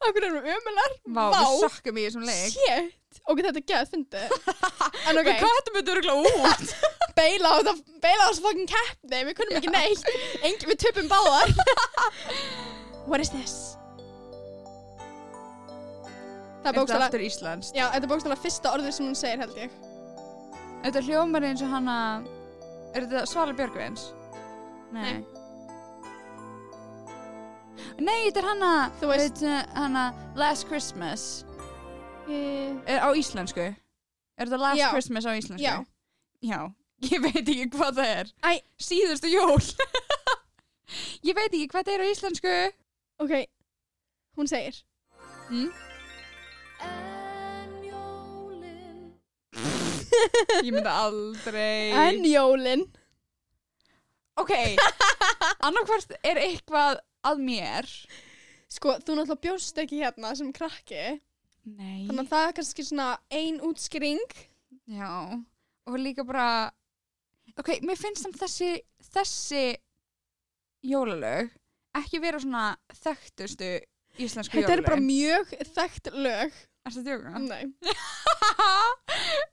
A: okkur erum við ömular.
B: Vá,
A: Vá.
B: við sökkum í þessum leik.
A: Shit. Ok, þetta er gæð, fyndi. En ok,
B: Við kattum þetta örgulega út.
A: beila á þetta, beila á þessu fucking keppni. Við kunnum ekki neitt. Engi, við töpum báðar. What is this? Það er
B: Þetta er
A: bókstala,
B: aftur íslenskt.
A: já, þetta er bókstala fyrsta orðið sem hún segir, held ég.
B: Þetta hljómar eins og hana... Er þetta Svala Björgvins? Nei. Nei, þetta er hana...
A: Þú veist-
B: Þetta, hana Last Christmas.
A: Eh,
B: Er á íslensku. Er þetta Last
A: Já.
B: Christmas á íslensku?
A: Já.
B: Já. Ég veit ekki hvað það er.
A: Æ.
B: Síðustu jól. Ég veit ekki hvað það er á íslensku.
A: Ok, hún segir.
B: Mm?
C: En jólin.
B: Ég myndi aldrei...
A: En jólin.
B: Ok, annarkvært er eitthvað að mér.
A: Sko, þú náttúrulega bjóst ekki hérna sem krakki.
B: Nei.
A: Þannig að það er kannski svona ein útskýring.
B: Já, og líka bara... Ok, mér finnst samt þessi, þessi jólalög ekki vera svona þekktustu íslensku
A: Þetta
B: jólalög.
A: eru bara mjög Mm. þekkt lög.
B: Er það djóka?
A: Nei.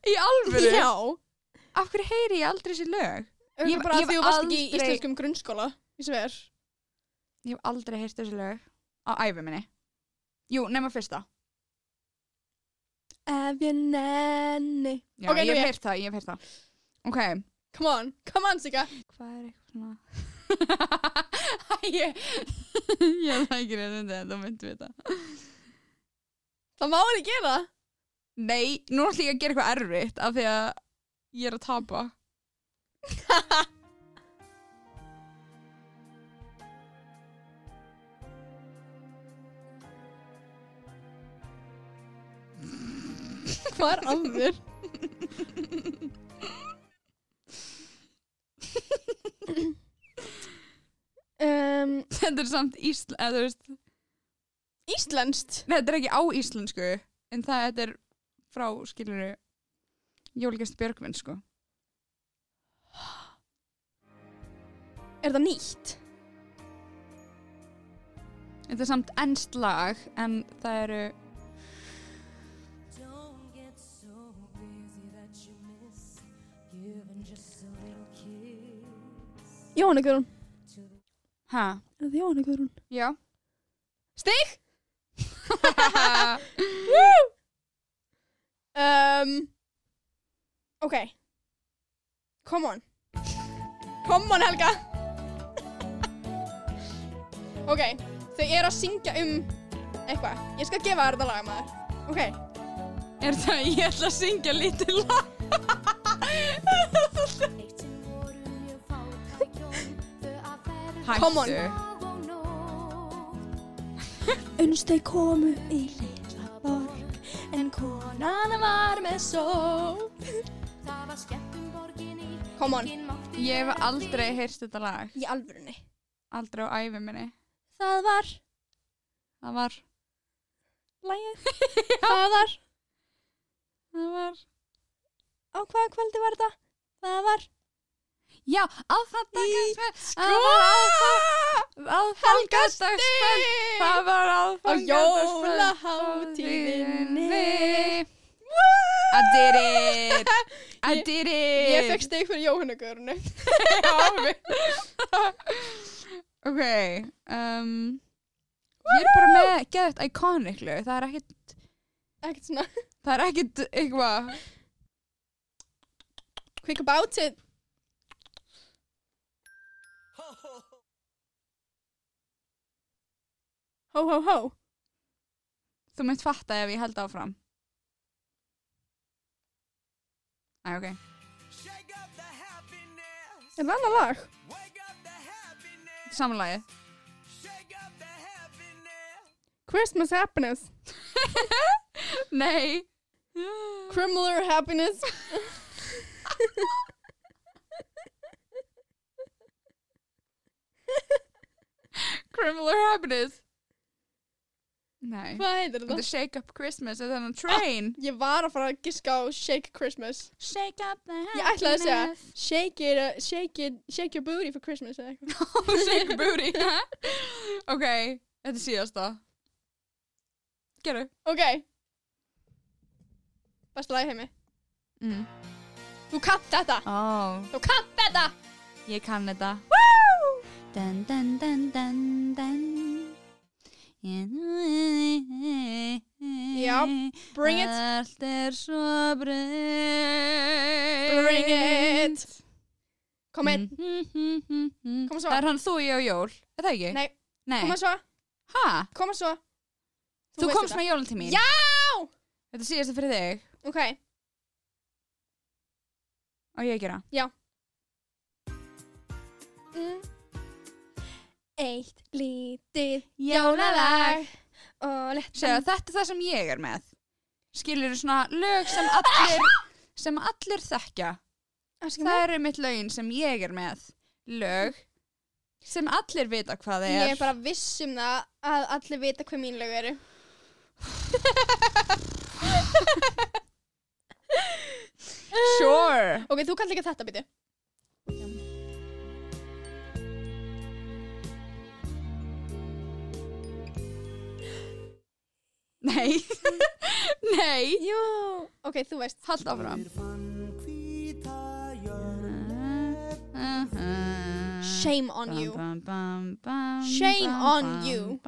B: Í alvöru?
A: Já.
B: Af hverju heyri ég aldrei þessi lög?
A: Ég,
B: Ég-
A: bara
B: ég
A: því þú
B: hef
A: varst ekki í
B: aldrei-
A: íslenskum grunnskóla. Ég sver.
B: Ég hef aldrei heyrt þessi lög á æfi minni. Jú, nema fyrsta.
A: Ef ég nenni.
B: Já,
A: Ok, nú
B: ég
A: ég.
B: hef heyrt það, ég hef heyrt það. Ok,
A: Come on, come on Sika.
B: hvað er eitthvað svona... Æ, ég... ég lækir um þetta, þú myndum við það.
A: Það má ekki gera það.
B: Nei, nú ætlum ég að gera eitthvað erfitt af því að ég er að tapa.
A: Hvað er að þér? um,
B: Þetta er samt ísl... eða þú veist,
A: Íslenskt
B: Nei, þetta er ekki á íslensku en það þetta er frá, skilur Jólgest Björgvin, sko
A: Er það nýtt?
B: Þetta er samt ennst lag en það eru
E: Don't get so busy that you miss giving just a little kiss
A: Jóhanna Guðrún
E: to the
B: Hæ?
A: Er það Jóhanna Guðrún?
B: Já
A: Stig!
B: Þetta
A: um, Ok Come on Come on Helga Ok Þau eru að syngja um eitthvað Ég skal gefa þér þetta lag maður Ok
B: Er það, ég ætla að syngja lítið lag
E: Leitinn voru ég fátt að hjón Þau að verða
A: Come on.
E: dag og nótt
A: Uns þau komu í
E: Litla borg en kona
A: Nana var með sól
E: Það var skemmtum borgin í
A: Come on
E: Enginn mátti
B: Ég hef
E: vera
B: aldrei
E: hlýr.
B: heyrst þetta lag
A: Í alvörunni
B: Aldrei á æfi minni
A: Það var
B: Það var
A: Lægið Það var
B: Það var
A: Á hvaða kvöldi var þetta? Það var
B: Já, aðfandagast Það
A: Sko!
B: var aðfandagast Aðfandagast Það var
A: Á
B: aðfandagast
A: jólahátíðinni
B: I did it I did it
A: Ég fekk steg fyrir Jóhannugörunu
B: Ok um, Ég er bara með geðt iconic lög Það er ekkit
A: Ekkert svona
B: Það er ekkit eitthvað
A: Quick about it Ho ho ho
B: Þú mynd fatta ef ég held áfram Æ, ok
A: Er það annar lag?
B: Samanlagið
A: Christmas happiness
B: Nei
A: Criminal happiness
B: Criminal Happiness Nei
A: Hvað heitir
B: The
A: þetta?
B: Shake Up Christmas er þannig train
A: Ég var að fara að giska á Shake Christmas
B: Shake up the happiness
A: Ég ætlaði að segja Shake it, uh, shake it, shake your booty for Christmas eða eitthvað
B: Shake booty Ok, þetta er síðasta Gerðu
A: Ok Besta lag í heimi
B: mm.
A: Þú kannt þetta
B: oh,
A: Þú kannt þetta
B: Ég kann þetta
C: Dun, dun, dun, dun, dun.
A: Já, Bring it
C: Allt er svo breytt.
A: Bring it Kom inn
B: mm.
A: Koma svo.
B: Það er hann þú, ég og Jól Er það ekki?
A: Nei,
B: Nei.
A: koma svo
B: Ha?
A: Koma svo
B: Þú,
A: veist
B: komst
A: þetta.
B: með jólinn til mín
A: Já!
B: Þetta er síðasta fyrir þig
A: Ok,
B: Á ég að gera
A: Eitt lítið
B: Jólalag.
A: Og
B: Segðu,
A: letta
B: þetta er það sem ég er með skilur svona lög sem allir sem allir þekkja
A: Mhm.
B: það eru mitt lögin sem ég er með lög sem allir vita hvað það
A: Ég
B: er
A: er bara viss um það að allir vita hvað mín lög eru
B: sure
A: Ok, þú kallt líka þetta byrju
B: nei, nei
A: Jú Ok, þú veist
B: hald áfram
A: Shame on you Shame
B: shame
A: on you.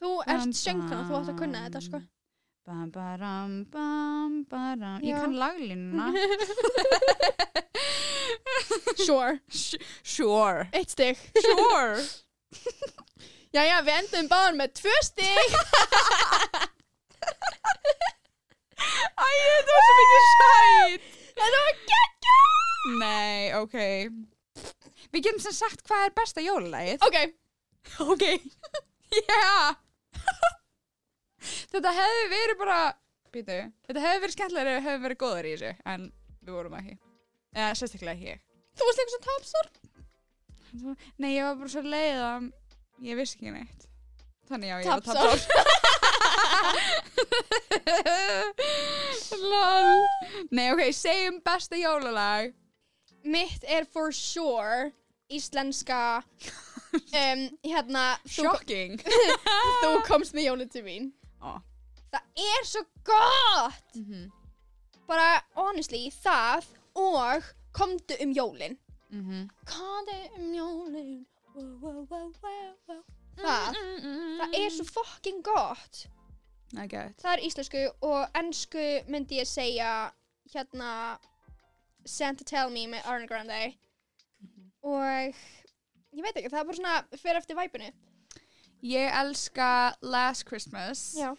A: Þú ert söngkona, þú átt að kunna þetta sko
B: Bam, baram, bam, baram. Ég
A: Já.
B: kann laglínuna.
A: Sure
B: sure.
A: Eitt stig
B: Sure.
A: Jæja, við endum báðan með tvö stig
B: Æ, þetta var svo mikið sætt. Þetta var geggja. Nei, ok. Við getum sem sagt hvað er besta jólalagið.
A: Ok
B: Ok. Já. þetta hefði verið bara býtu. Þetta hefði verið skemmtilega ef við hefðum verið góðar í þessu, en við vorum ekki. Eða sérstaklega ég.
A: Þú varst eitthvað sem tapsar?
B: Nei, ég var bara svo leið að ég vissi ekki neitt. Þannig já, ég var
A: Tapsár.
B: tapsár. Lol. Nei, ok, segjum besta jólalag.
A: Mitt er for sure íslenska um, hérna, þú,
B: Shocking.
A: þú komst með jólinn til mín.
B: Ó.
A: Það er svo gott!
B: Mm -hmm.
A: Bara, honestly, það og komdu um jólinn.
B: Mm
A: Mhm.
B: -hmm.
A: Komdu um jólinn. Wow, wow, wow, wow, wow. Mm, Það, það er svo fucking gott.
B: I get it.
A: Það er íslensku og ennsku myndi ég segja hérna Santa Tell Me með Arna Grande og ég veit ekki, það er bara svona fyrir eftir væpinu.
B: Ég elska Last Christmas.
A: Já.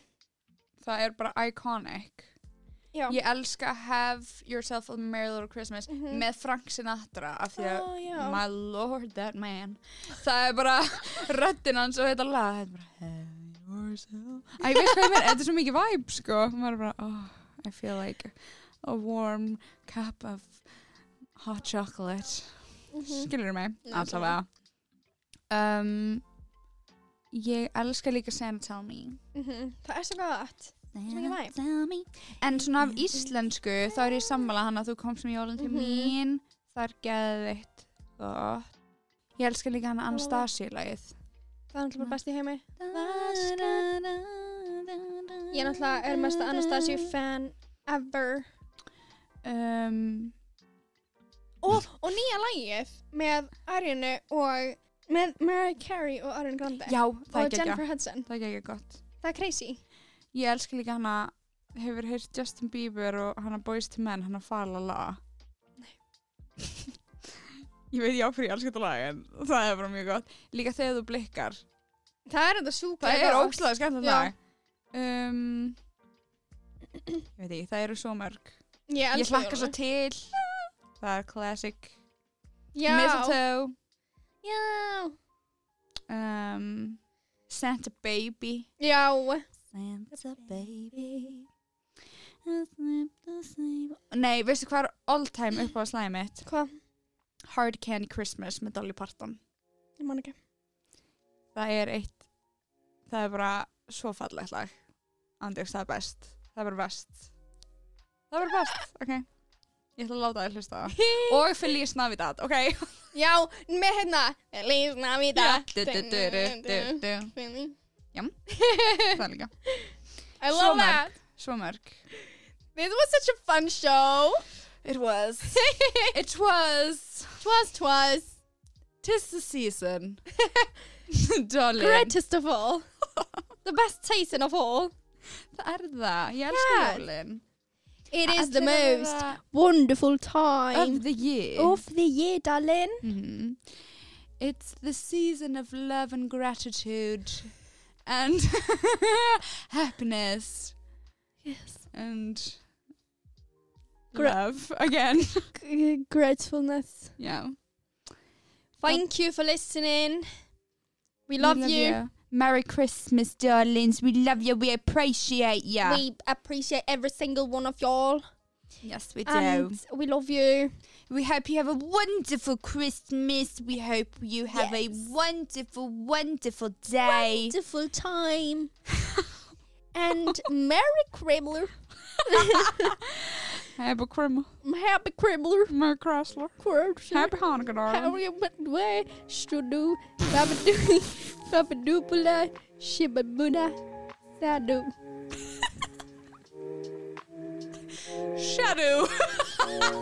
B: Það er bara iconic.
A: Já.
B: Ég elska Have Yourself a Merry Little Christmas
A: Mhm.
B: með Frank Sinatra af því að
A: Ó, Ah, já.
B: My lord, that man. Það er bara röddinn hans og þetta lag. Það er bara Have Yourself. Æ, ég veist hvað ég meina. Þetta er svo mikið vibe, sko. Maður er bara, oh, I feel like a warm cup of hot chocolate.
A: Mhm.
B: Skilur mig,
A: Nei,
B: allavega. Um, ég elska líka Santa Tell Me.
A: Mhm. Það er svo gott. mikið væp.
C: Tell me.
B: En svona af íslensku þá er ég sammála hann að þú komst með jólun til
A: Mhm.
B: mín. Það er geðveitt gott. Ég elska líka hann Anastasia-lagið.
A: Það er náttúrulega bara best í heimi. Ég
C: Ég
A: náttúrulega er mesta Anastasia fan ever.
B: Um,
A: Og, og nýja lagið með Arjunu og með Mariah Carey og Arjun Grande
B: já, það er
A: og
B: geggja.
A: Jennifer Hudson.
B: Það er geggja gott.
A: Það er crazy.
B: Ég elska líka hann að hefur heyrt Justin Bieber og hann að Boyz II Men, hann að Fala La. ég veit já fyrir ég elska þetta lag en það er bara mjög gott. Líka þegar þú blikkar.
A: Það er þetta súkla.
B: Það er ógslag skemmtilegt
A: Já.
B: lag. Um, ég veit ekki, það eru svo mörg.
A: Ég,
B: Ég
A: elska
B: hlakka svo
A: jólin.
B: til. Það er classic.
A: Já.
B: Mistletoe.
A: Já.
B: Um, Santa Baby.
A: Já.
C: Santa baby.
B: Nei, veistu hvað er all time upp á slæðið mitt?
A: Hvað?
B: Hard Candy Christmas með Dolly Parton.
A: Ég man ekki.
B: Það er eitt, það er bara svo fallegt lag. Andjóks, það er best. Það er bara best. Það er bara best, ok. Ég ætla að láta þér hlusta á það. Og Feliz Navidad, ok.
A: Já, með hérna Feliz Navidad
B: Du, du, du, du, du, du. Það er líka.
A: I
B: Svo
A: love
B: mörg.
A: that
B: Svo mörg.
A: This was such a fun show
B: It was. It was.
A: Twas, twas
B: Tis the season. Darling.
A: Greatest of all The best season of all
B: Það er það. Ég elska
A: Yes.
B: jólin.
A: It is the
B: Allir að
A: most
B: vera
A: wonderful
B: Of
A: time
B: the year.
A: of the year, darling
C: Mm-hmm.
B: Mhm. It's the season of love and gratitude. And happiness.
A: Yes
B: And
A: Gra-
B: love again.
A: Gratefulness
B: yeah.
A: Thank you for listening We love, you.
C: Merry Christmas, darlings. We love you. We appreciate you.
A: We appreciate every single one of y'all
B: Yes, we
A: And we love you
C: We hope you have a wonderful Christmas. We hope you have
A: Yes.
C: a wonderful, wonderful day.
A: wonderful time. and Merry Cribbler.
B: Happy Christmas.
A: Happy Cribbler.
B: Merry Chrysler.
A: Happy
B: Happy Hanukkah, darling.
A: Harry Way Strudu Babadu Babadupula Shibabuna Sadu.
B: Shadow.